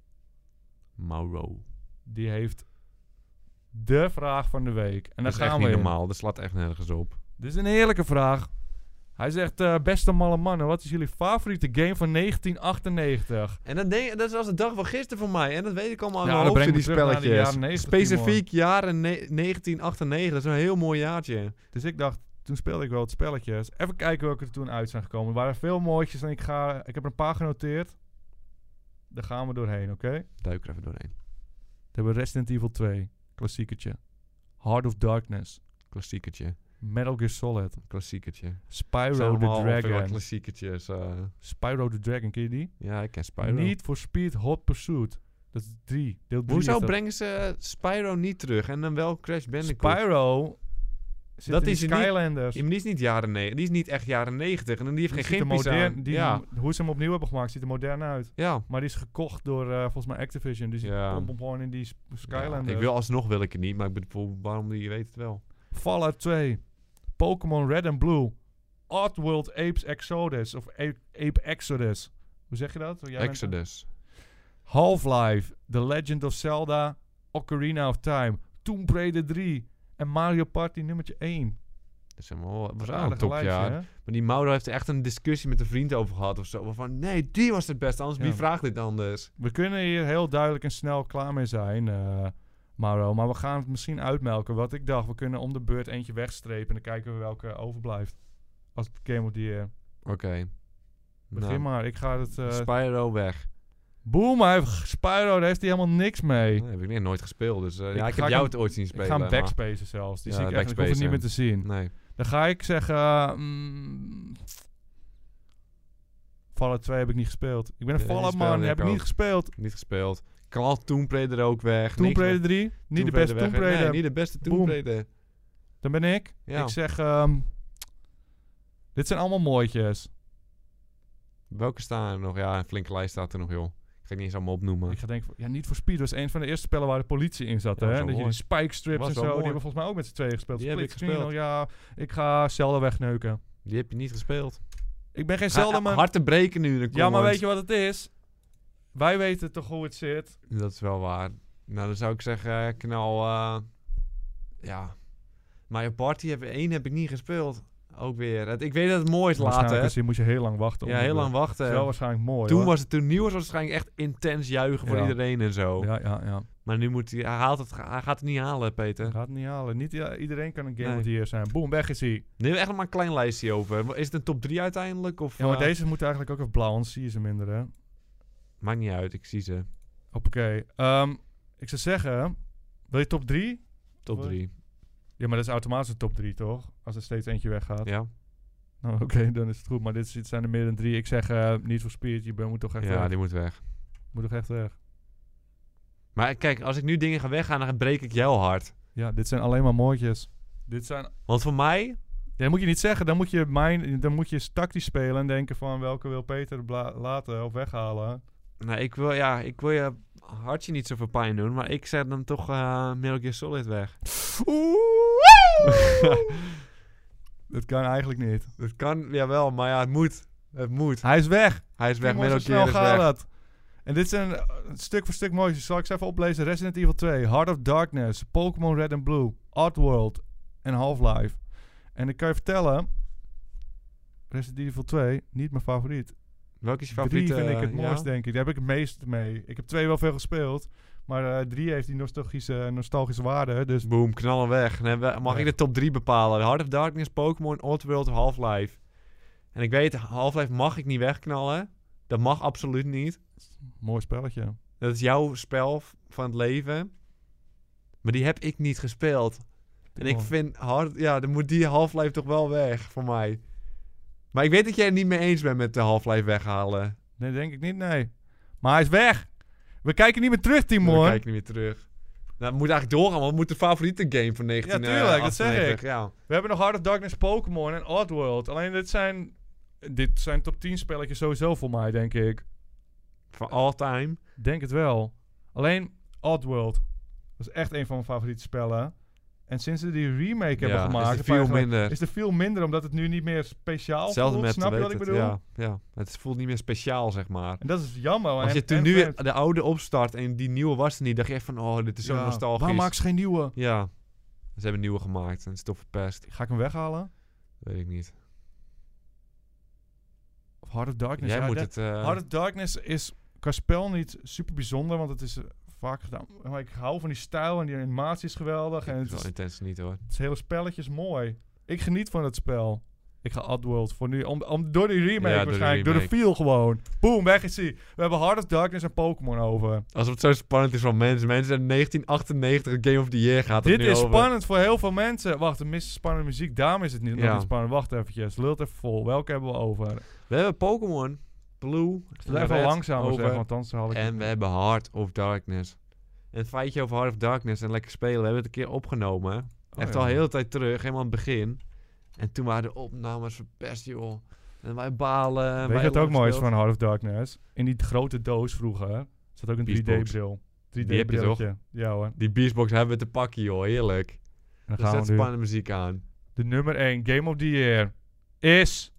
S5: Mauro.
S4: die heeft de vraag van de week. En daar
S5: dat is echt
S4: gaan
S5: niet
S4: we in.
S5: normaal. Dat slaat echt nergens op.
S4: Dit is een heerlijke vraag. Hij zegt, eh, beste malle mannen, wat is jullie favoriete game van 1998?
S5: En dat, denk, dat is als de dag van gisteren voor mij. En dat weet ik
S4: Ja,
S5: allemaal in mijn
S4: dat
S5: hoofd,
S4: brengt
S5: die
S4: me terug naar de
S5: spelletjes.
S4: jaren 90,
S5: Specifiek jaren ne- 1998. Dat is een heel mooi jaartje.
S4: Dus ik dacht, toen speelde ik wel het spelletje. Dus even kijken welke er toen uit zijn gekomen. Er waren veel mooitjes en ik, ga, ik heb er een paar genoteerd. Daar gaan we doorheen, oké? Dan
S5: Duik er even doorheen.
S4: hebben we Resident Evil 2, klassieketje. Heart of Darkness,
S5: Klassiekertje.
S4: Metal Gear Solid,
S5: Klassiekertje.
S4: Spyro the Dragon.
S5: klassiekertjes. eh.
S4: Spyro the Dragon, ken je die?
S5: ja, ik ken Spyro.
S4: Need for Speed Hot Pursuit. Dat is 3, deel 3
S5: Hoezo brengen ze Spyro niet terug en dan wel Crash Bandicoot?
S4: Spyro. Zit
S5: Dat
S4: in die
S5: is niet-
S4: Skylanders.
S5: Ja, maar die is niet jaren ne- Die is niet echt jaren 90 en die heeft
S4: Die ziet
S5: geen
S4: er
S5: gimpies
S4: modern-
S5: aan.
S4: die-
S5: ja.
S4: Hoe ze hem opnieuw hebben gemaakt, ziet er modern uit.
S5: ja.
S4: Maar die is gekocht door eh, volgens mij Activision. Dus die
S5: Ja.
S4: pompt hem gewoon in die s- Skylanders.
S5: Ja, ik wil alsnog wil ik het niet, maar ik bedoel, waarom die je weet het wel.
S4: Fallout 2. Pokémon Red and Blue. Oddworld Apes Exodus. Of Ape, Ape Exodus. Hoe zeg je dat? Jij bent-
S5: Exodus.
S4: Half-Life. The Legend of Zelda. Ocarina of Time. Tomb Raider 3. En Mario Party nummertje 1.
S5: Dat is helemaal, dat was ook een
S4: Aardig lijstje,
S5: topjaar.
S4: hè?
S5: Maar die Mauro heeft er echt een discussie met een vriend over gehad of zo. Van nee, die was het best, anders
S4: Ja.
S5: wie vraagt dit anders?
S4: We kunnen hier heel duidelijk en snel klaar mee zijn, eh, Mauro. Maar we gaan het misschien uitmelken. Wat ik dacht, we kunnen om de beurt eentje wegstrepen. En dan kijken we welke overblijft. Als het Game of the Year.
S5: Oké.
S4: Begin
S5: Nou,
S4: maar, ik ga het... eh
S5: Spyro weg.
S4: boom, hij heeft, Spyro, daar heeft hij helemaal niks mee.
S5: Nee, heb ik net nooit gespeeld, dus eh,
S4: Ik
S5: ja, ik
S4: ga
S5: heb
S4: hem-
S5: jou het ooit zien
S4: ik
S5: spelen.
S4: ga hem
S5: maar-
S4: backspacen zelfs. Die
S5: Ja, Hm.
S4: zie ik echt, ik hoef het niet
S5: backspacen.
S4: meer te zien.
S5: Nee.
S4: Dan ga ik zeggen... eh, mm, Fallout 2 heb ik niet gespeeld. Ik ben een
S5: Ja, die
S4: Fallout
S5: speelde
S4: man,
S5: ik
S4: heb ik niet
S5: ook.
S4: gespeeld.
S5: Niet gespeeld. Knal Tomb Raider ook weg.
S4: Tomb
S5: Niks
S4: Raider
S5: weg.
S4: 3, niet de
S5: Tomb
S4: beste Tomb
S5: Raider weg.
S4: Raider.
S5: Nee, niet de beste Tomb
S4: Boom.
S5: Raider.
S4: Dan ben ik.
S5: Ja.
S4: Ik zeg, ehm, dit zijn allemaal mooitjes.
S5: Welke staan er nog? Ja, een flinke lijst staat er nog, joh. Ik ga het niet eens allemaal opnoemen.
S4: Ik ga denken, van, ja, niet voor Speed was een van de eerste spellen waar de politie in zat.
S5: Ja, was
S4: hè?
S5: wel
S4: Dat je
S5: mooi.
S4: die spike strips
S5: Was
S4: en zo,
S5: wel
S4: die
S5: mooi.
S4: hebben volgens mij ook met z'n tweeën gespeeld.
S5: Die heb
S4: Split
S5: ik
S4: screen,
S5: gespeeld.
S4: oh ja, ik ga Zelda wegneuken.
S5: Die heb je niet gespeeld.
S4: Ik ben geen
S5: Ga-
S4: Zelda man.
S5: Hard te breken nu. in de
S4: Ja, maar
S5: comments.
S4: weet je wat het is? Wij weten toch hoe het zit.
S5: Dat is wel waar. Nou, dan zou ik zeggen, eh, knal... eh ja. Mario Party heb, 1 heb ik niet gespeeld. Ook weer. Het- ik weet dat het mooi is later.
S4: Waarschijnlijk
S5: hè.
S4: is- moest je heel lang wachten. om
S5: Ja,
S4: te
S5: heel
S4: doen.
S5: lang
S4: Het
S5: wachten.
S4: is wel waarschijnlijk mooi.
S5: toen
S4: hoor.
S5: was het toen nieuw was, was het waarschijnlijk echt intens juichen voor
S4: Ja.
S5: iedereen en zo.
S4: Ja, ja, ja.
S5: Maar nu moet hij, hij, haalt het, hij gaat het niet halen, Peter.
S4: Gaat het niet halen. Niet ja, iedereen kan een Game
S5: Nee.
S4: of the Year zijn. Boom, weg is hij.
S5: Nu hebben we echt nog maar een klein lijstje over. Is het een top 3 uiteindelijk? Of,
S4: Ja, maar
S5: eh,
S4: deze moet eigenlijk ook even blauw, anders zie je ze minder, hè.
S5: Maakt niet uit, ik zie ze.
S4: Hoppakee. Ehm, ik zou zeggen, wil je top 3?
S5: Top
S4: Hoi.
S5: 3.
S4: Ja, maar dat is automatisch een top 3, toch? Als er steeds eentje weggaat.
S5: Ja,
S4: Nou, oké, dan is het goed. Maar dit, is- dit zijn er meer dan drie. Ik zeg, eh niet voor Spirit, je bent- moet toch echt
S5: ja
S4: weg.
S5: die moet weg.
S4: Moet toch echt weg.
S5: Maar kijk, als ik nu dingen ga weggaan, dan breek ik jou hard.
S4: Ja, dit zijn alleen maar mooitjes. Dit zijn...
S5: Want voor mij,
S4: Ja, dat moet je niet zeggen. Dan moet je, mijn, dan moet je tactisch spelen en denken van... welke wil Peter bla- laten of weghalen?
S5: nou, ik wil, ja, ik wil je hartje niet zoveel pijn doen, maar ik zet hem toch eh Metal Gear Solid weg.
S4: Dat kan eigenlijk niet.
S5: Dat kan, jawel, maar ja, het moet. Het moet.
S4: Hij is weg.
S5: Hij is weg,
S4: Jongens,
S5: Metal
S4: zo
S5: Gear
S4: snel
S5: is
S4: gaat
S5: weg.
S4: dat. En dit zijn eh, stuk voor stuk mooiste. Zal ik ze even oplezen. Resident Evil 2, Heart of Darkness, Pokémon Red and Blue, Oddworld en Half-Life. En ik kan je vertellen... Resident Evil 2, niet mijn favoriet.
S5: Welke is je
S4: Drie
S5: favoriete?
S4: vind ik het
S5: eh, ja?
S4: mooist, denk ik. Daar heb ik het meest mee. Ik heb twee wel veel gespeeld. Maar eh drie heeft die nostalgische, nostalgische waarde. Dus
S5: Boom, knallen weg. Dan hebben we- mag
S4: Ja.
S5: ik de top 3 bepalen? Heart of Darkness, Pokémon, Oddworld, Half-Life. En ik weet, Half-Life mag ik niet wegknallen. Dat mag absoluut niet.
S4: mooi spelletje.
S5: Dat is jouw spel v- van het leven. Maar die heb ik niet gespeeld. En ik
S4: Oh.
S5: vind, hard, ja, dan moet die Half-Life toch wel weg voor mij. Maar ik weet dat jij het niet mee eens bent met de Half-Life weghalen.
S4: Nee, denk ik niet, nee. Maar hij is weg. We kijken niet meer terug, Timon.
S5: Dan kijk ik niet meer terug. Nou, het moet eigenlijk doorgaan, want het moet de favoriete game van 19 eh,
S4: tuurlijk, dat zeg ik.
S5: 98, Ja.
S4: We hebben nog Heart of Darkness, Pokémon en Oddworld. Alleen dit zijn, dit zijn top 10 spelletjes sowieso voor mij, denk ik.
S5: Van all time.
S4: Denk het wel. Alleen Oddworld. Dat is echt een van mijn favoriete spellen. En sinds ze die remake hebben
S5: Ja, is
S4: gemaakt...
S5: die
S4: een
S5: veel
S4: paar jaar geleden,
S5: minder.
S4: Is er veel minder, omdat het nu niet meer speciaal
S5: Hetzelfde
S4: voelt.
S5: met
S4: Snap je
S5: weet
S4: wat ik
S5: het,
S4: bedoel?
S5: Ja, ja, het voelt niet meer speciaal, zeg maar.
S4: En dat is jammer.
S5: Als
S4: en-
S5: je toen
S4: en
S5: nu
S4: vreemd.
S5: de oude opstart en die nieuwe was er niet, dacht je echt van, oh, dit is zo
S4: Ja,
S5: nostalgisch.
S4: Waarom maak ze geen nieuwe?
S5: Ja. Ze hebben nieuwe gemaakt en het is toch verpest.
S4: Ga ik hem weghalen?
S5: Weet ik niet.
S4: Of Heart of Darkness?
S5: Jij
S4: Ja,
S5: moet
S4: dat-
S5: het... eh,
S4: Heart of Darkness is qua spel niet super bijzonder, want het is eh, vaak gedaan. Maar ik hou van die stijl en die animatie is geweldig. En
S5: het is
S4: het, is,
S5: wel intens niet, hoor.
S4: het hele spelletje is mooi. Ik geniet van het spel. Ik ga Oddworld voor nu. Om, om, door die remake
S5: Ja, door de
S4: waarschijnlijk. Door de
S5: remake.
S4: feel gewoon. Boom, weg is die. We hebben Heart of Darkness en Pokémon over.
S5: Alsof het zo spannend is van mensen. Mensen hebben 1998 een Game of the Year gaat het
S4: Dit
S5: nu
S4: is
S5: over.
S4: spannend voor heel veel mensen. Wacht, er mist spannende muziek. Daarom is het niet, nog
S5: Ja.
S4: niet spannend. Wacht eventjes. Lult even vol. Welke hebben we over?
S5: We hebben Pokémon, Blue,
S4: Blijf wel
S5: Red
S4: langzamer
S5: over.
S4: zeggen, want anders had ik...
S5: En we hebben Heart of Darkness. En het feitje over Heart of Darkness en lekker spelen. We hebben het een keer opgenomen.
S4: Oh,
S5: Echt
S4: ja.
S5: al heel de tijd terug, helemaal aan het begin. En toen waren de opnames verpest, joh. En wij balen. en
S4: Weet
S5: wij
S4: je wat ook mooi is
S5: ongespeeld.
S4: van Heart of Darkness? In die grote doos vroeger zat ook een
S5: Beastbox.
S4: 3D-bril.
S5: Die heb je toch?
S4: 3D-brilletje. Ja hoor. En
S5: Die Beastbox hebben we te pakken, joh. Heerlijk.
S4: dan
S5: Er
S4: gaan
S5: Dus zet
S4: we nu.
S5: spannende muziek aan.
S4: De nummer 1 Game of the Year is...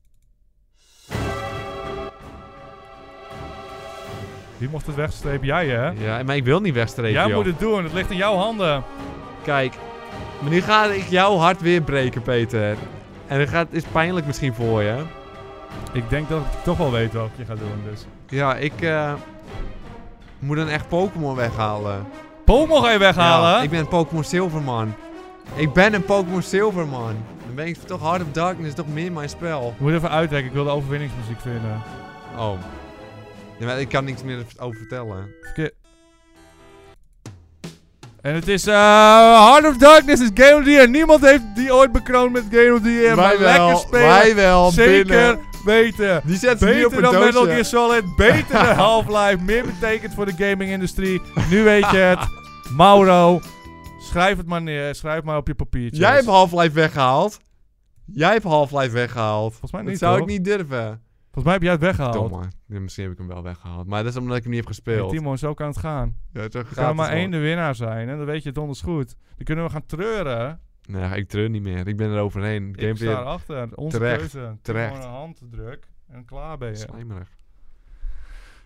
S4: Wie mocht het wegstrepen? Jij hè?
S5: Ja, maar ik wil niet wegstrepen,
S4: Jij
S5: joh.
S4: moet het doen. Het ligt in jouw handen.
S5: Kijk, maar nu ga ik jouw hart weer breken, Peter. En dat gaat, is pijnlijk misschien voor je.
S4: Ik denk dat ik toch wel weet wat je gaat doen dus.
S5: Ja, ik eh, moet dan echt Pokémon weghalen.
S4: Pomo ga je weghalen?
S5: Ja, ik ben Pokémon Silverman. Ik ben een Pokémon Silverman. Dan ben ik toch Heart of Darkness toch meer mijn spel.
S4: Ik moet even uitrekken. Ik wil de overwinningsmuziek vinden.
S5: Oh. Ja, maar ik kan niks meer over vertellen.
S4: Verkeer- En het is eh Heart of Darkness is Game of the Year. Niemand heeft die ooit bekroond met Game of the Year. maar lekker spelen.
S5: wij wel,
S4: zeker
S5: binnen.
S4: weten.
S5: Die zetten ze nu op
S4: Beter
S5: een
S4: dan Metal
S5: doosje.
S4: Gear Solid. Beter dan Half-Life. Meer betekent voor de gaming-industrie. Nu weet je het. Mauro, schrijf het maar neer. Schrijf maar op je papiertje.
S5: Jij hebt Half-Life weggehaald. Jij hebt Half-Life weggehaald.
S4: Volgens mij
S5: Dat
S4: niet,
S5: zou ik
S4: hoor.
S5: niet durven.
S4: Volgens mij heb jij het weggehaald.
S5: Domme. Ja, misschien heb ik hem wel weggehaald. Maar dat is omdat ik hem niet heb
S4: Hey,
S5: gespeeld.
S4: Timo, zo kan het gaan.
S5: Ja, zo
S4: Er
S5: gaat
S4: kan
S5: het
S4: maar
S5: gewoon.
S4: één de winnaar zijn. En dan weet je het donders goed. Dan kunnen we gaan treuren.
S5: Nee, ik treur niet meer. Ik ben er overheen.
S4: Ik
S5: Game
S4: sta
S5: weer
S4: erachter. Onze
S5: Terecht.
S4: keuze.
S5: Terecht.
S4: Gewoon een handdruk en klaar ben je.
S5: slijmerig.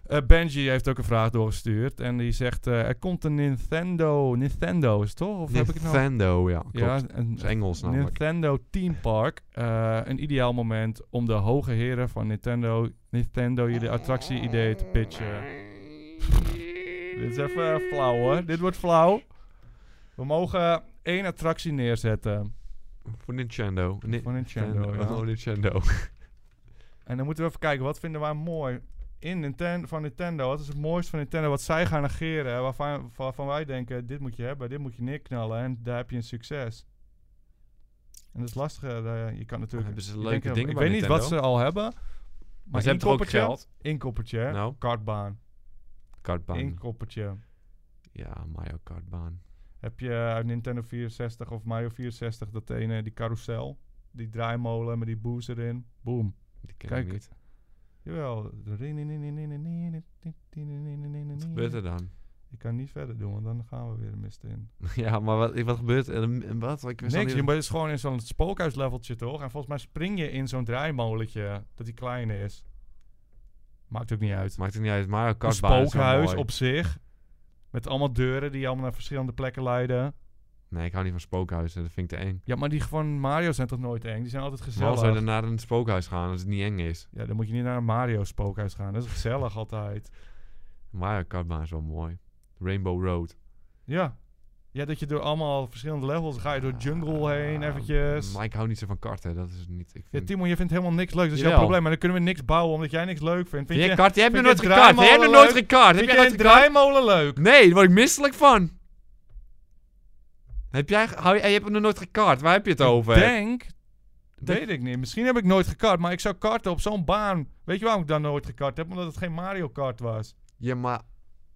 S4: Eh, Benji heeft ook een vraag doorgestuurd. En die zegt, eh, er komt een Nintendo... Nintendo is het toch? Of heb ik het nou...
S5: Nintendo, ja. Klopt.
S4: Ja,
S5: Dat
S4: een,
S5: is Engels namelijk.
S4: Nintendo Team Park. eh, een ideaal moment om de hoge heren van Nintendo, Nintendo jullie attractie-idee te pitchen. Dit is even eh, flauw hoor. Dit wordt flauw. We mogen één attractie neerzetten.
S5: Voor Nintendo. Ni-
S4: Voor Nintendo, ja.
S5: Oh, Nintendo.
S4: En dan moeten we even kijken, wat vinden wij mooi in Ninten- van Nintendo? Wat is het mooiste van Nintendo? Wat zij gaan negeren, waarvan, waarvan wij denken, dit moet je hebben, dit moet je neerknallen en daar heb je een succes. En dat is lastiger, eh, je kan natuurlijk...
S5: Hebben ze
S4: je
S5: leuke
S4: denkt, eh,
S5: dingen
S4: Ik
S5: bij
S4: weet niet wat ze
S5: Nintendo?
S4: al hebben, maar
S5: ze hebben toch ook
S4: inkoppertje,
S5: geld?
S4: Inkoppertje, hè?
S5: Nou.
S4: kartbaan,
S5: Kartbaan.
S4: inkoppertje.
S5: ja, Mario Kartbaan.
S4: Heb je uit Nintendo 64 of Mario 64 dat ene, die carousel, die draaimolen met die boos erin, boom.
S5: Die ken
S4: Kijk,
S5: ik niet.
S4: Jawel.
S5: Wat gebeurt er dan?
S4: Ik kan niet verder doen, want dan gaan we weer de mist in.
S5: ja, maar wat, wat gebeurt er? En Wat? Ik wist al
S4: Niks,
S5: niet-
S4: je bent- is gewoon in zo'n spookhuisleveltje, toch? En volgens mij spring je in zo'n draaimolentje, dat die klein is. Maakt ook niet uit.
S5: Maakt het niet uit. Mario
S4: Een
S5: Kartbaan is zo
S4: spookhuis
S5: mooi.
S4: op zich, met allemaal deuren die allemaal naar verschillende plekken leiden.
S5: Nee, ik hou niet van spookhuizen. Dat vind ik te eng.
S4: Ja, maar die van Mario zijn toch nooit eng? Die zijn altijd
S5: Maar als we
S4: gezellig.
S5: dan naar een spookhuis gaan als het niet eng is.
S4: Ja, dan moet je niet naar een Mario spookhuis gaan. Dat is gezellig altijd.
S5: Mario Kartbaan is wel mooi. Rainbow Road.
S4: Ja. Ja, dat je door allemaal verschillende levels ga je door jungle heen
S5: Ah,
S4: eventjes.
S5: Maar ik hou niet zo van karten. Dat is niet... Ik
S4: Ja,
S5: vind...
S4: Timo, je vindt helemaal niks leuk. Dat is jouw
S5: Jawel.
S4: probleem. Maar dan kunnen we niks bouwen omdat jij niks leuk vindt. Vind
S5: je,
S4: je,
S5: kart, je hebt
S4: vind
S5: nog
S4: je
S5: nooit gekart. Je hebt nog
S4: draaimolen
S5: nooit
S4: leuk?
S5: gekart. Heb
S4: vind
S5: jij
S4: je
S5: nooit
S4: een
S5: gekart?
S4: draaimolen leuk?
S5: Nee, daar word ik misselijk van. Heb jij, hou, je je hebt nog nooit gekart. Waar heb je het over?
S4: Ik denk... Weet ik niet. Misschien heb ik nooit gekart, maar ik zou karten op zo'n baan. Weet je waarom ik dan nooit gekart heb? Omdat het geen Mario Kart was.
S5: Ja, maar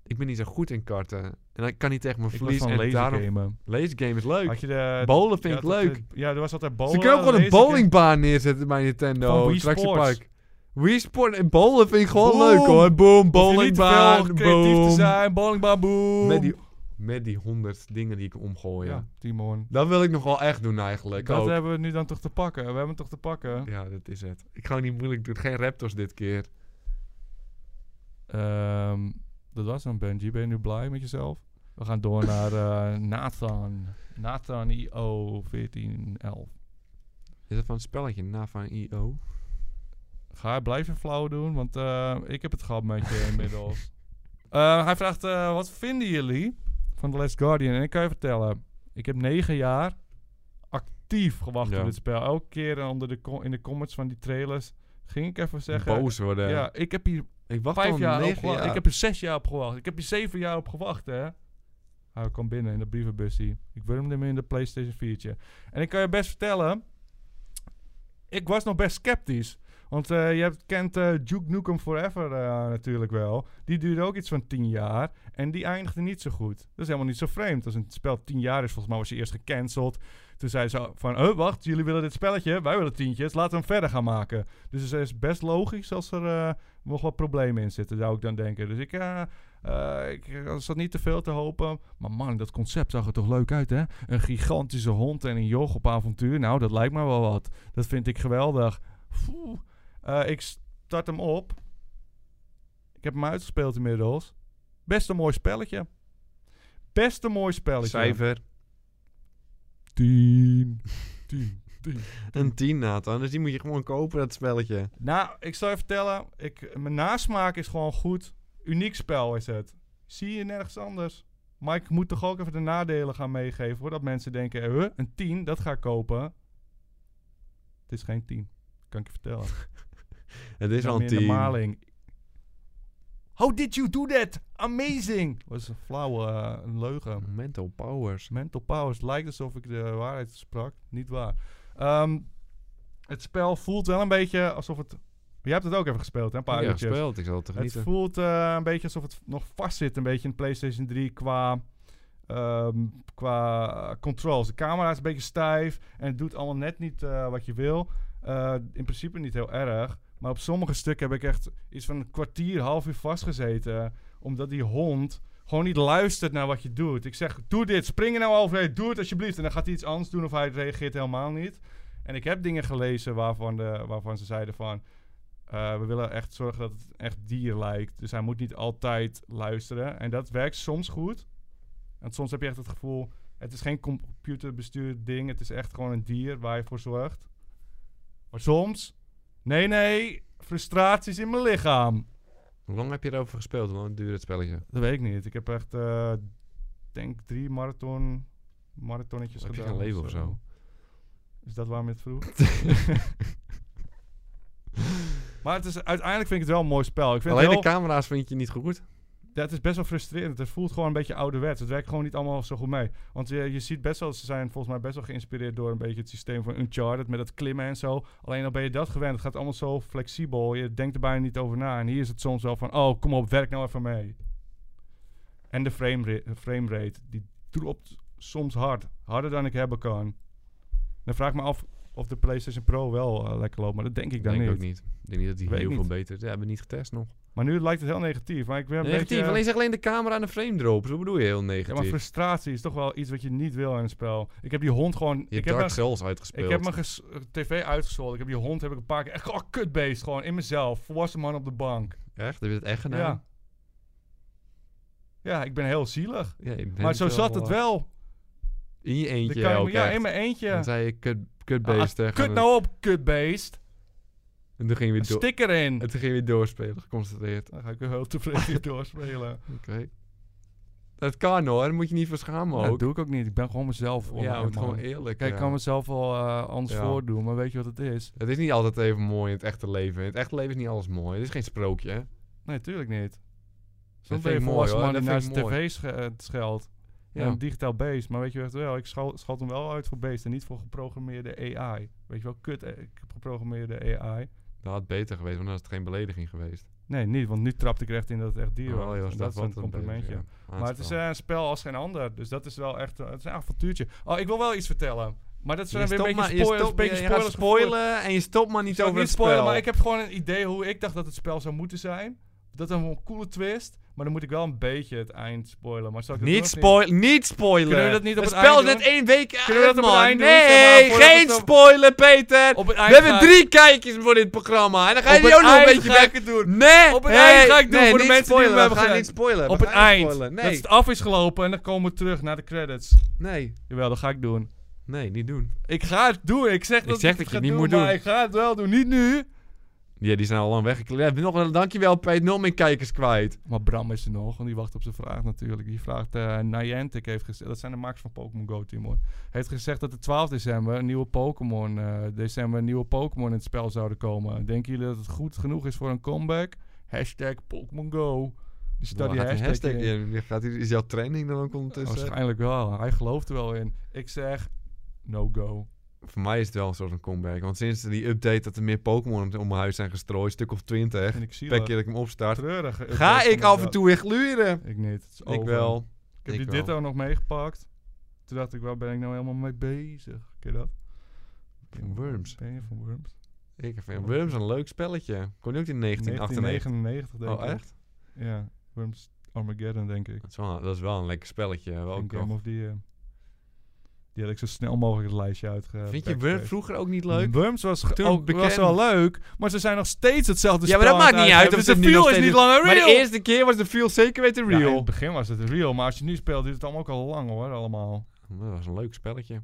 S5: ik ben niet zo goed in karten. En ik kan niet tegen mijn
S4: Ik was
S5: verlies.
S4: van
S5: en
S4: laser
S5: daarom...
S4: gamen.
S5: Laser game is leuk.
S4: Had je de...
S5: Bowlen
S4: je
S5: vind ik
S4: had
S5: leuk.
S4: altijd- ja, er was altijd bowlen.
S5: Ze kunnen ook gewoon een
S4: laser game.
S5: bowlingbaan neerzetten bij
S4: Van
S5: Nintendo.
S4: Wii
S5: Attractiepark. Wii Sport en bowlen vind ik gewoon
S4: Boom.
S5: leuk hoor. Boom,
S4: Hoef je niet te
S5: bowlingbaan,
S4: veel creatief te
S5: boom.
S4: zijn. Bowlingbaan, boom.
S5: Met die, met die honderd dingen die ik omgooi.
S4: Ja, Timon.
S5: Dat wil ik nog wel echt doen eigenlijk.
S4: Dat
S5: ook.
S4: hebben we nu dan toch te pakken. We hebben het toch te pakken.
S5: Ja, dat is het. Ik ga niet moeilijk doen. Geen Raptors dit keer.
S4: Ehm, dat was dan Benji. Ben je nu blij met jezelf? We gaan door naar eh, Nathan. Nathan IO 1411.
S5: Is dat van een spelletje? Na van IO?
S4: Ga je blijven flauw doen? Want eh, ik heb het gehad met je inmiddels. Eh, hij vraagt, eh, wat vinden jullie van The Last Guardian? En ik kan je vertellen, ik heb negen jaar actief gewacht
S5: Ja.
S4: op dit spel. Elke keer onder de co- in de comments van die trailers ging ik even zeggen...
S5: Boos worden.
S4: eh, Ja, ik heb hier
S5: Ik wacht
S4: vijf
S5: al
S4: jaar op
S5: negen
S4: gewacht.
S5: jaar.
S4: Ik heb er zes jaar op gewacht. Ik heb er zeven jaar op gewacht, hè. Hij kwam binnen in de brievenbussie. Ik wurmde hem in de PlayStation 4'tje. En ik kan je best vertellen... Ik was nog best sceptisch. Want eh, je hebt, kent eh Duke Nukem Forever eh, natuurlijk wel. Die duurde ook iets van tien jaar. En die eindigde niet zo goed. Dat is helemaal niet zo vreemd. Als een spel tien jaar is, volgens mij was je eerst gecanceld. Toen zei ze van, oh wacht, jullie willen dit spelletje? Wij willen tientjes, laten we hem verder gaan maken. Dus het is best logisch als er... eh, nog wat problemen in zitten, zou ik dan denken. Dus ik, eh eh, ik eh, zat niet te veel te hopen. Maar man, dat concept zag er toch leuk uit, hè? Een gigantische hond en een joch op avontuur. Nou, dat lijkt me wel wat. Dat vind ik geweldig. Foeh. Eh, ik start hem op. Ik heb hem uitgespeeld inmiddels. Best een mooi spelletje. Best een mooi spelletje.
S5: Cijfer.
S4: 10. 10.
S5: Een 10, Nathan. Dus die moet je gewoon kopen, dat spelletje.
S4: Nou, ik zal je vertellen. Ik, mijn nasmaak is gewoon goed. Uniek spel is het. Zie je nergens anders. Maar ik moet toch ook even de nadelen gaan meegeven. Voordat mensen denken, eh, huh, een 10, dat ga ik kopen. Het is geen 10. Kan ik je vertellen.
S5: Het is
S4: Dan
S5: al een
S4: in de
S5: 10.
S4: maling. How did you do that? Amazing! was een flauwe eh, een leugen.
S5: Mental powers.
S4: Mental powers. Lijkt alsof ik de waarheid sprak. Niet waar. Ehm, het spel voelt wel een beetje alsof het... Jij hebt het ook even gespeeld, hè? Een paar
S5: Ja,
S4: uurtjes.
S5: gespeeld. Ik zal het
S4: Het
S5: genieten.
S4: voelt eh, een beetje alsof het nog vast zit. Een beetje in de PlayStation 3 qua, ehm, qua eh, controls. De camera is een beetje stijf. En het doet allemaal net niet eh, wat je wil. Eh, in principe niet heel erg. Maar op sommige stukken heb ik echt iets van een kwartier, half uur vastgezeten. Omdat die hond gewoon niet luistert naar wat je doet. Ik zeg, doe dit, spring er nou overheen, doe het alsjeblieft. En dan gaat hij iets anders doen of hij reageert helemaal niet. En ik heb dingen gelezen waarvan, de, waarvan ze zeiden van... Eh, we willen echt zorgen dat het echt dier lijkt. Dus hij moet niet altijd luisteren. En dat werkt soms goed. En soms heb je echt het gevoel... Het is geen computerbestuurd ding. Het is echt gewoon een dier waar je voor zorgt. Maar soms... Nee, nee. Frustraties in mijn lichaam.
S5: Hoe lang heb je erover gespeeld? Hoe lang duurde het spelletje?
S4: Dat weet ik niet. Ik heb echt... eh, denk drie marathon... Marathonnetjes
S5: Heb je
S4: gedaan.
S5: geen label of zo?
S4: Is dat waarom je het vroeg? maar het is, uiteindelijk vind ik het wel een mooi spel. Ik vind het
S5: Alleen
S4: heel-
S5: de camera's vind je niet goed.
S4: ja, het is best wel frustrerend. Het voelt gewoon een beetje ouderwets. Het werkt gewoon niet allemaal zo goed mee. Want je, je ziet best wel, ze zijn volgens mij best wel geïnspireerd door een beetje het systeem van Uncharted met dat klimmen en zo. Alleen dan ben je dat gewend. Het gaat allemaal zo flexibel. Je denkt er bijna niet over na. En hier is het soms wel van, oh, kom op, werk nou even mee. En de frame, ra- frame rate, die dropt soms hard. Harder dan ik hebben kan. Dan vraag ik me af of de PlayStation Pro wel eh, lekker loopt. Maar dat denk ik dan
S5: denk
S4: niet.
S5: ook niet. Ik denk niet dat die
S4: Weet
S5: heel
S4: ik
S5: veel
S4: niet.
S5: beter is. Ja, hebben we niet getest nog.
S4: Maar nu lijkt het heel negatief. Maar ik ben een
S5: Negatief.
S4: beetje... eh,
S5: Alleen zeg alleen de camera en de frame drops. Hoe bedoel je heel
S4: Ja,
S5: negatief?
S4: maar frustratie is toch wel iets wat je niet wil in een spel. Ik heb die hond gewoon...
S5: je
S4: ik,
S5: hebt
S4: heb
S5: Dark
S4: mijn,
S5: Souls uitgespeeld.
S4: ik heb mijn ges- eh, tv uitgescholden. Ik heb die hond heb ik een paar keer... Echt, oh, kutbeest. Gewoon in mezelf. Volwassen man op de bank.
S5: Echt? Heb je dat echt gedaan?
S4: Ja. Ja, ik ben heel zielig.
S5: Ja, ik ben
S4: maar zo
S5: wel-
S4: zat het wel.
S5: In je
S4: Dan
S5: eentje
S4: kan je-
S5: ook
S4: ja,
S5: echt.
S4: in mijn
S5: Dan
S4: eentje.
S5: zei je kut,
S4: Ah,
S5: kutbeest tegen
S4: Kut
S5: me.
S4: nou op, kutbeest.
S5: En toen ging je
S4: Een
S5: weer, door.
S4: stik erin.
S5: en toen ging je weer doorspelen, geconcentreerd.
S4: Dan ga ik weer heel tevreden hier doorspelen.
S5: Oké. Dat kan hoor, daar moet je niet voor schamen
S4: dat
S5: ook.
S4: doe ik ook niet. Ik ben gewoon mezelf.
S5: ja,
S4: online,
S5: het
S4: man.
S5: gewoon eerlijk.
S4: Kijk, ik
S5: ja.
S4: kan mezelf wel eh, anders
S5: Ja.
S4: voordoen. Maar weet je wat het is?
S5: Het is niet altijd even mooi in het echte leven. In het echte leven is niet alles mooi. Het is geen sprookje. Hè?
S4: Nee, tuurlijk niet.
S5: vind
S4: Soms ben je
S5: ik
S4: een
S5: mooi,
S4: volwassen
S5: hoor.
S4: man
S5: Dat
S4: die
S5: vind
S4: naar
S5: ik
S4: zijn tv sch- eh, scheldt. Ja.
S5: Ja.
S4: Een digitaal beest. Maar weet je echt wel, ik schal- schat hem wel uit voor beest en niet voor geprogrammeerde AI. Weet je wel, kut eh, geprogrammeerde AI.
S5: Dat had beter geweest, want dan is het geen belediging geweest.
S4: Nee, niet, want nu trapte ik er echt in dat het echt dier
S5: Oh,
S4: was.
S5: joh,
S4: En
S5: is
S4: dat is een
S5: wat beter,
S4: complimentje.
S5: ja.
S4: Maar het is
S5: Aanstel.
S4: eh, een spel als geen ander. Dus dat is wel echt eh, het is een avontuurtje. Oh, ik wil wel iets vertellen. Maar dat is
S5: Je
S4: dan weer een beetje
S5: stopt maar- je
S4: spoilers.
S5: stopt-
S4: beetje
S5: je gaat
S4: spoilers gevoerd.
S5: spoilen en je stopt maar niet
S4: Ik zal
S5: over
S4: niet
S5: het
S4: spoilen,
S5: spel.
S4: maar ik heb gewoon een idee hoe ik dacht dat het spel zou moeten zijn. Dat dan wel een coole twist. Maar dan moet ik wel een beetje het eind spoilen. Maar zal ik dat
S5: Niet,
S4: doen of
S5: spoil niet spoilen.
S4: Kunnen we dat niet op
S5: het
S4: het
S5: spel
S4: eind
S5: is net
S4: doen?
S5: één week uit,
S4: Kunnen we dat op het
S5: man.
S4: eind doen? Zeg
S5: Nee,
S4: maar, voordat
S5: geen
S4: het op-
S5: spoilen, Peter.
S4: Op het
S5: We
S4: eind
S5: hebben
S4: ga-
S5: drie kijkers voor dit programma. En dan ga je
S4: Op
S5: die
S4: het
S5: ook nog een
S4: eind
S5: beetje
S4: ga
S5: weg
S4: ik het doen.
S5: Nee,
S4: Op het
S5: nee,
S4: eind ga ik doen
S5: nee,
S4: voor de
S5: niet
S4: mensen die
S5: spoilen.
S4: me hebben
S5: We gaan
S4: gezien.
S5: niet spoilen.
S4: niet?
S5: we
S4: Op het
S5: gaan niet
S4: eind.
S5: spoilen.
S4: Dat
S5: Nee,
S4: het af is gelopen en dan komen we terug naar de credits.
S5: nee,
S4: Jawel, dat ga ik doen.
S5: nee, niet doen.
S4: Ik ga het doen. Ik zeg dat
S5: zeg
S4: ik
S5: dat je
S4: ga
S5: het niet moet
S4: maar
S5: doen.
S4: ik ga het wel doen. Niet nu.
S5: Ja, die zijn al lang weggekleed. Nog een dankjewel, Peter. Nog meer kijkers kwijt.
S4: Maar Bram is er nog, want die wacht op zijn vraag natuurlijk. Die vraagt, eh Niantic heeft gezegd, dat zijn de makers van Pokémon Go Team hoor. Heeft gezegd dat de 12 december een nieuwe Pokémon, eh, december een nieuwe Pokémon in het spel zouden komen. Denken jullie dat het goed genoeg is voor een comeback? Hashtag Pokémon Go. Dus daar
S5: Dan
S4: die
S5: gaat die
S4: hashtag,
S5: hashtag
S4: in. Oh,
S5: in. Gaat die- Is jouw training dan ook ondertussen?
S4: Waarschijnlijk wel. Hij gelooft er wel in. Ik zeg, no go.
S5: Voor mij is het wel een soort van comeback. Want sinds die update dat er meer Pokémon om- om mijn huis zijn gestrooid, stuk of twintig,
S4: En ik zie
S5: per keer dat ik hem opstart,
S4: Treurig.
S5: ga ik af en toe weer gluren.
S4: Ik niet. Het is
S5: Ik
S4: over.
S5: wel.
S4: Ik heb
S5: Ik
S4: die
S5: wel.
S4: Ditto nog meegepakt. Toen dacht ik, waar ben ik nou helemaal mee bezig? Ken je dat?
S5: Van Worms.
S4: Ben je van Worms?
S5: Ik vind Worms een leuk spelletje. Kon je ook in 1998?
S4: 1999 denk ik.
S5: Oh, echt?
S4: Ja, Worms Armageddon denk ik.
S5: Dat is wel, dat is wel een lekker spelletje. Wel
S4: Een
S5: ook
S4: Game
S5: wel-
S4: of the Year. Die had ik zo snel mogelijk het lijstje uitge.
S5: Vind je Worms
S4: backspace.
S5: vroeger ook niet leuk?
S4: Worms was
S5: Toen
S4: Toen ook
S5: bekend.
S4: was wel leuk, maar ze zijn nog steeds hetzelfde
S5: Ja, maar
S4: spel
S5: dat
S4: aan
S5: maakt niet
S4: het
S5: uit.
S4: uitgeven.
S5: Of
S4: Dus
S5: het
S4: de
S5: nu
S4: feel
S5: nog
S4: is niet
S5: steeds-
S4: langer
S5: Maar
S4: real.
S5: de eerste keer was de feel zeker weten
S4: Ja, in
S5: real.
S4: het begin was het real, maar als je nu speelt, duurt het allemaal ook al lang hoor, allemaal.
S5: dat was een leuk spelletje.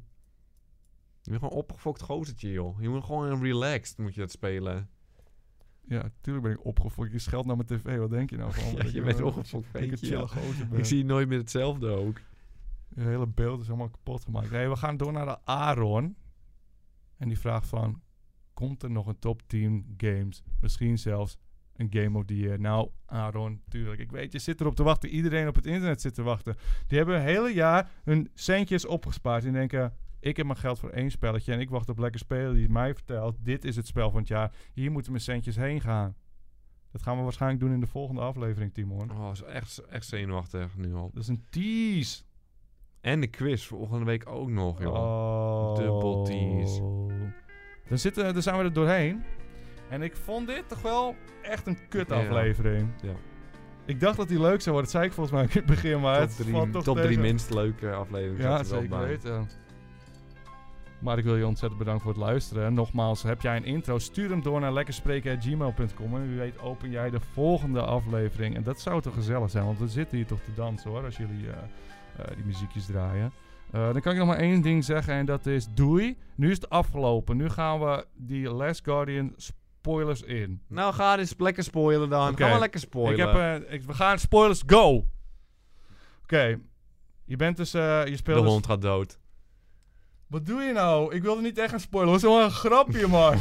S5: Je bent gewoon opgefokt gozertje, joh. Je moet gewoon relaxed moet je dat spelen.
S4: Ja, tuurlijk ben ik opgefokt. Je scheldt naar mijn tv, wat denk je nou van?
S5: Ja,
S4: Dat
S5: je
S4: ik,
S5: bent
S4: eh,
S5: opgefokt,
S4: dat Ik een
S5: weet je, ja.
S4: chille gozer ben.
S5: Ik zie je nooit meer hetzelfde ook.
S4: Het hele beeld is helemaal kapot gemaakt. Nee, we gaan door naar de Aaron. En die vraagt van... Komt er nog een top 10 games? Misschien zelfs een Game of the Year. Nou, Aaron, tuurlijk. Ik weet, je zit erop te wachten. Iedereen op het internet zit te wachten. Die hebben een hele jaar hun centjes opgespaard. En denken... Ik heb mijn geld voor één spelletje en ik wacht op lekker spelen die mij vertelt: dit is het spel van het jaar. Hier moeten mijn centjes heen gaan. Dat gaan we waarschijnlijk doen in de volgende aflevering, Timon.
S5: Oh, is echt, echt zenuwachtig nu al.
S4: Dat is een tease.
S5: En de quiz volgende week ook nog, joh.
S4: Oh.
S5: Dubbel tease.
S4: Dan, zitten, dan zijn we er doorheen. En ik vond dit toch wel echt een kut aflevering.
S5: Ja.
S4: Ik dacht dat die leuk zou worden. Dat zei ik volgens mij ook in het begin. Maar
S5: top
S4: het valt
S5: drie,
S4: toch
S5: top drie
S4: tegen.
S5: minst leuke afleveringen.
S4: Ja,
S5: zat er wel
S4: zeker
S5: bij.
S4: weten. Maar ik wil je ontzettend bedanken voor het luisteren. En nogmaals, heb jij een intro? Stuur hem door naar lekkerspreken.gmail.com. En wie weet open jij de volgende aflevering. En dat zou toch gezellig zijn, want we zitten hier toch te dansen hoor. Als jullie eh, eh, die muziekjes draaien. Eh, dan kan ik nog maar één ding zeggen en dat is doei. Nu is het afgelopen. Nu gaan we die Last Guardian spoilers in.
S5: Nou, ga eens lekker spoilen dan.
S4: Oké.
S5: Ga maar lekker spoilen.
S4: Ik heb, eh, ik, we gaan spoilers go. Oké. Je bent dus, eh, je
S5: de
S4: speelt dus-
S5: hond gaat dood.
S4: Wat doe je nou? Ik wilde niet echt een spoiler. Het was gewoon een grapje, man.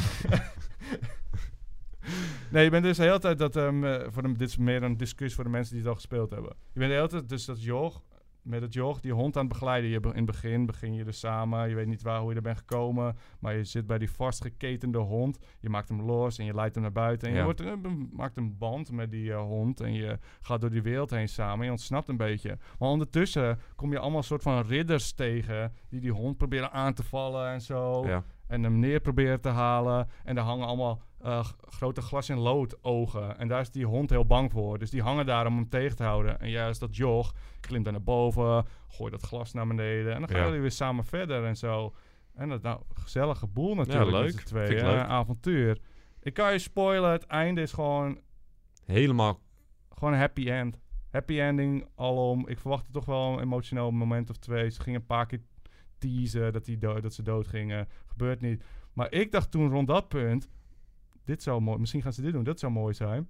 S4: nee, je bent dus de hele tijd dat... ehm, eh, voor de, dit is meer een discussie voor de mensen die het al gespeeld hebben. Je bent de hele tijd dus dat joch... Met dat joch, die hond aan het begeleiden. Je, be- in het begin begin je dus samen. Je weet niet waar, hoe je er bent gekomen. Maar je zit bij die vastgeketende hond. Je maakt hem los en je leidt hem naar buiten. En
S5: Ja.
S4: je wordt, eh, be- maakt een band met die eh, hond. En je gaat door die wereld heen samen. Je ontsnapt een beetje. Maar ondertussen kom je allemaal soort van ridders tegen. Die die hond proberen aan te vallen en zo.
S5: Ja.
S4: En hem neer proberen te halen. En daar hangen allemaal eh, g- grote glas in lood ogen. En daar is die hond heel bang voor. Dus die hangen daar om hem tegen te houden. En juist dat joch klimt daar naar boven. Gooi dat glas naar beneden. En dan gaan
S5: Ja.
S4: jullie weer samen verder en zo. En dat nou, gezellige boel natuurlijk.
S5: leuk.
S4: met z'n tweeën.
S5: Vind ik leuk.
S4: Een avontuur. Ik kan je spoilen. Het einde is gewoon
S5: Helemaal.
S4: gewoon een happy end. Happy ending alom. Ik verwachtte toch wel een emotioneel moment of twee. Ze gingen een paar keer teasen dat, die do- dat ze dood gingen. Gebeurt niet. Maar ik dacht toen rond dat punt... Dit zou mooi... Misschien gaan ze dit doen. Dat zou mooi zijn.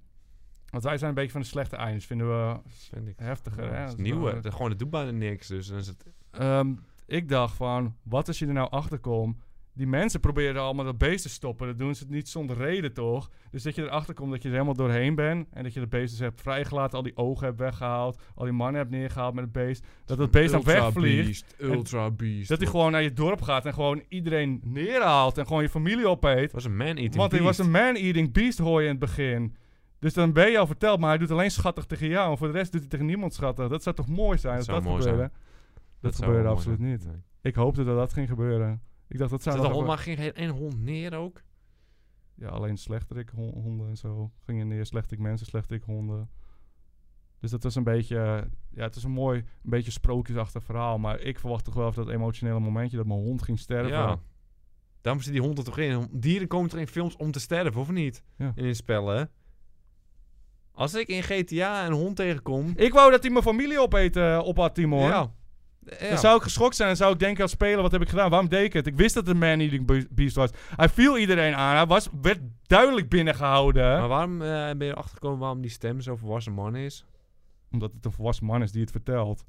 S4: Want wij zijn een beetje van de slechte eindes. Vinden we
S5: Vind ik.
S4: heftiger. hè?
S5: Ja, het
S4: Dat
S5: is
S4: is
S5: nieuw,
S4: wel-
S5: hè. Gewoon, het doet bijna niks. Dus dan is het...
S4: Ehm, ik dacht van, wat als je er nou achter komt? Die mensen proberen allemaal dat beest te stoppen. Dat doen ze niet zonder reden, toch? Dus dat je erachter komt dat je er helemaal doorheen bent. En dat je de beest dus hebt vrijgelaten. Al die ogen hebt weggehaald. Al die mannen hebt neergehaald met het beest. Dat dat beest dan
S5: Ultra
S4: wegvliegt.
S5: Beast, ultra beast.
S4: Dat hij gewoon naar je dorp gaat. En gewoon iedereen neerhaalt. En gewoon je familie opeet.
S5: was een man-eating
S4: Want hij was
S5: beast.
S4: een man-eating beast, hoor je in het begin. Dus dan ben je al verteld, maar hij doet alleen schattig tegen jou. En voor de rest doet hij tegen niemand schattig. Dat zou toch mooi zijn?
S5: Dat
S4: Dat,
S5: zou
S4: dat
S5: mooi
S4: gebeurde.
S5: zijn.
S4: Dat,
S5: zou
S4: gebeurde
S5: wel mooi
S4: absoluut
S5: zijn.
S4: niet.
S5: Nee.
S4: Ik hoopte dat dat ging gebeuren. Ik dacht, dat zou
S5: Zat
S4: nog
S5: de hond,
S4: even-
S5: maar ging geen één hond neer ook?
S4: Ja, alleen slechterik hon- honden en zo. Gingen neer, slechterik mensen, slechterik honden. Dus dat was een beetje... eh, Ja, het is een mooi, een beetje sprookjesachtig verhaal. Maar ik verwacht toch wel even dat emotionele momentje dat mijn hond ging sterven.
S5: Ja. Daarom zit die hond er toch in. Dieren komen toch in films om te sterven, of niet?
S4: Ja.
S5: En in spellen, hè? Als ik in GTA een hond tegenkom...
S4: Ik wou dat hij mijn familie opeet, eh, op had, Timo. hoor.
S5: Ja. Ja.
S4: Dan zou ik geschokt zijn en zou ik denken als speler, wat heb ik gedaan? Waarom deed ik het? Ik wist dat het een man-eating be- beast was. Hij viel iedereen aan. Hij was, werd duidelijk binnengehouden.
S5: Maar waarom eh, ben je erachter gekomen waarom die stem zo volwassen man is?
S4: Omdat het een volwassen man is die het vertelt.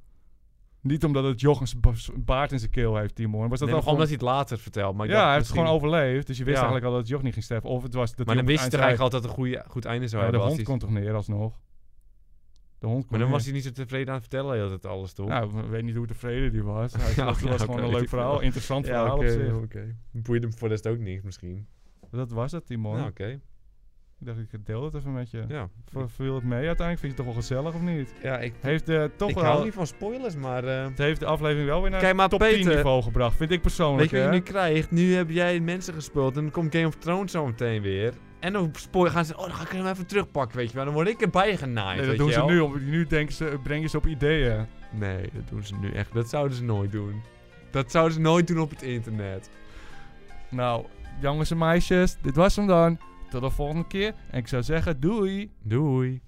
S4: Niet omdat het Jochens baard in zijn keel heeft, Timo. Was dat
S5: Nee,
S4: al
S5: maar
S4: gewoon...
S5: omdat hij het later vertelt. Maar ik
S4: Ja,
S5: dacht
S4: hij heeft
S5: misschien-
S4: gewoon overleefd. Dus je wist
S5: Ja.
S4: eigenlijk al dat Joch niet ging sterven. Of het was dat hij
S5: Maar dan
S4: op het
S5: wist hij er
S4: eind
S5: eigenlijk altijd een goede, goed einde
S4: zei,
S5: zou
S4: "Ja, de
S5: hebben. als
S4: hond
S5: hij-
S4: komt toch neer alsnog. De hond
S5: Maar
S4: komt
S5: dan was hij niet zo tevreden aan het vertellen heel dat alles, toch?
S4: Nou, ik weet niet hoe tevreden die was. Hij
S5: Ja,
S4: dacht, het
S5: ja,
S4: was
S5: oké,
S4: gewoon
S5: weet
S4: een
S5: ik
S4: leuk
S5: veel.
S4: verhaal. Interessant
S5: ja,
S4: verhaal
S5: oké.
S4: op zich.
S5: oké. Boeide hem voor de rest ook niks misschien.
S4: Dat was het, Timo.
S5: Nou, oké.
S4: Ik dacht, ik deel het even met je.
S5: Ja.
S4: V- Viel het mee uiteindelijk? Vind je het toch wel gezellig of niet?
S5: Ja, ik,
S4: Heeft eh, toch
S5: ik
S4: wel...
S5: hou niet van spoilers, maar... eh,
S4: Het heeft de aflevering wel weer naar
S5: Kijk maar,
S4: top 10
S5: Peter.
S4: niveau gebracht. Vind ik
S5: Weet
S4: persoonlijk,
S5: je wat
S4: hè?
S5: je nu krijgt? Nu heb jij mensen gespeeld en dan komt Game of Thrones zo meteen weer. En dan spoor gaan ze, oh, dan ga ik hem even terugpakken, weet je wel. Dan word ik erbij genaaid,
S4: Nee, dat
S5: weet
S4: doen
S5: je
S4: ze
S5: wel.
S4: nu. Om, nu denken ze, breng je ze op ideeën.
S5: Nee, dat doen ze nu echt. Dat zouden ze nooit doen. Dat zouden ze nooit doen op het internet.
S4: Nou, jongens en meisjes, dit was hem dan. Tot de volgende keer. En ik zou zeggen, doei!
S5: Doei.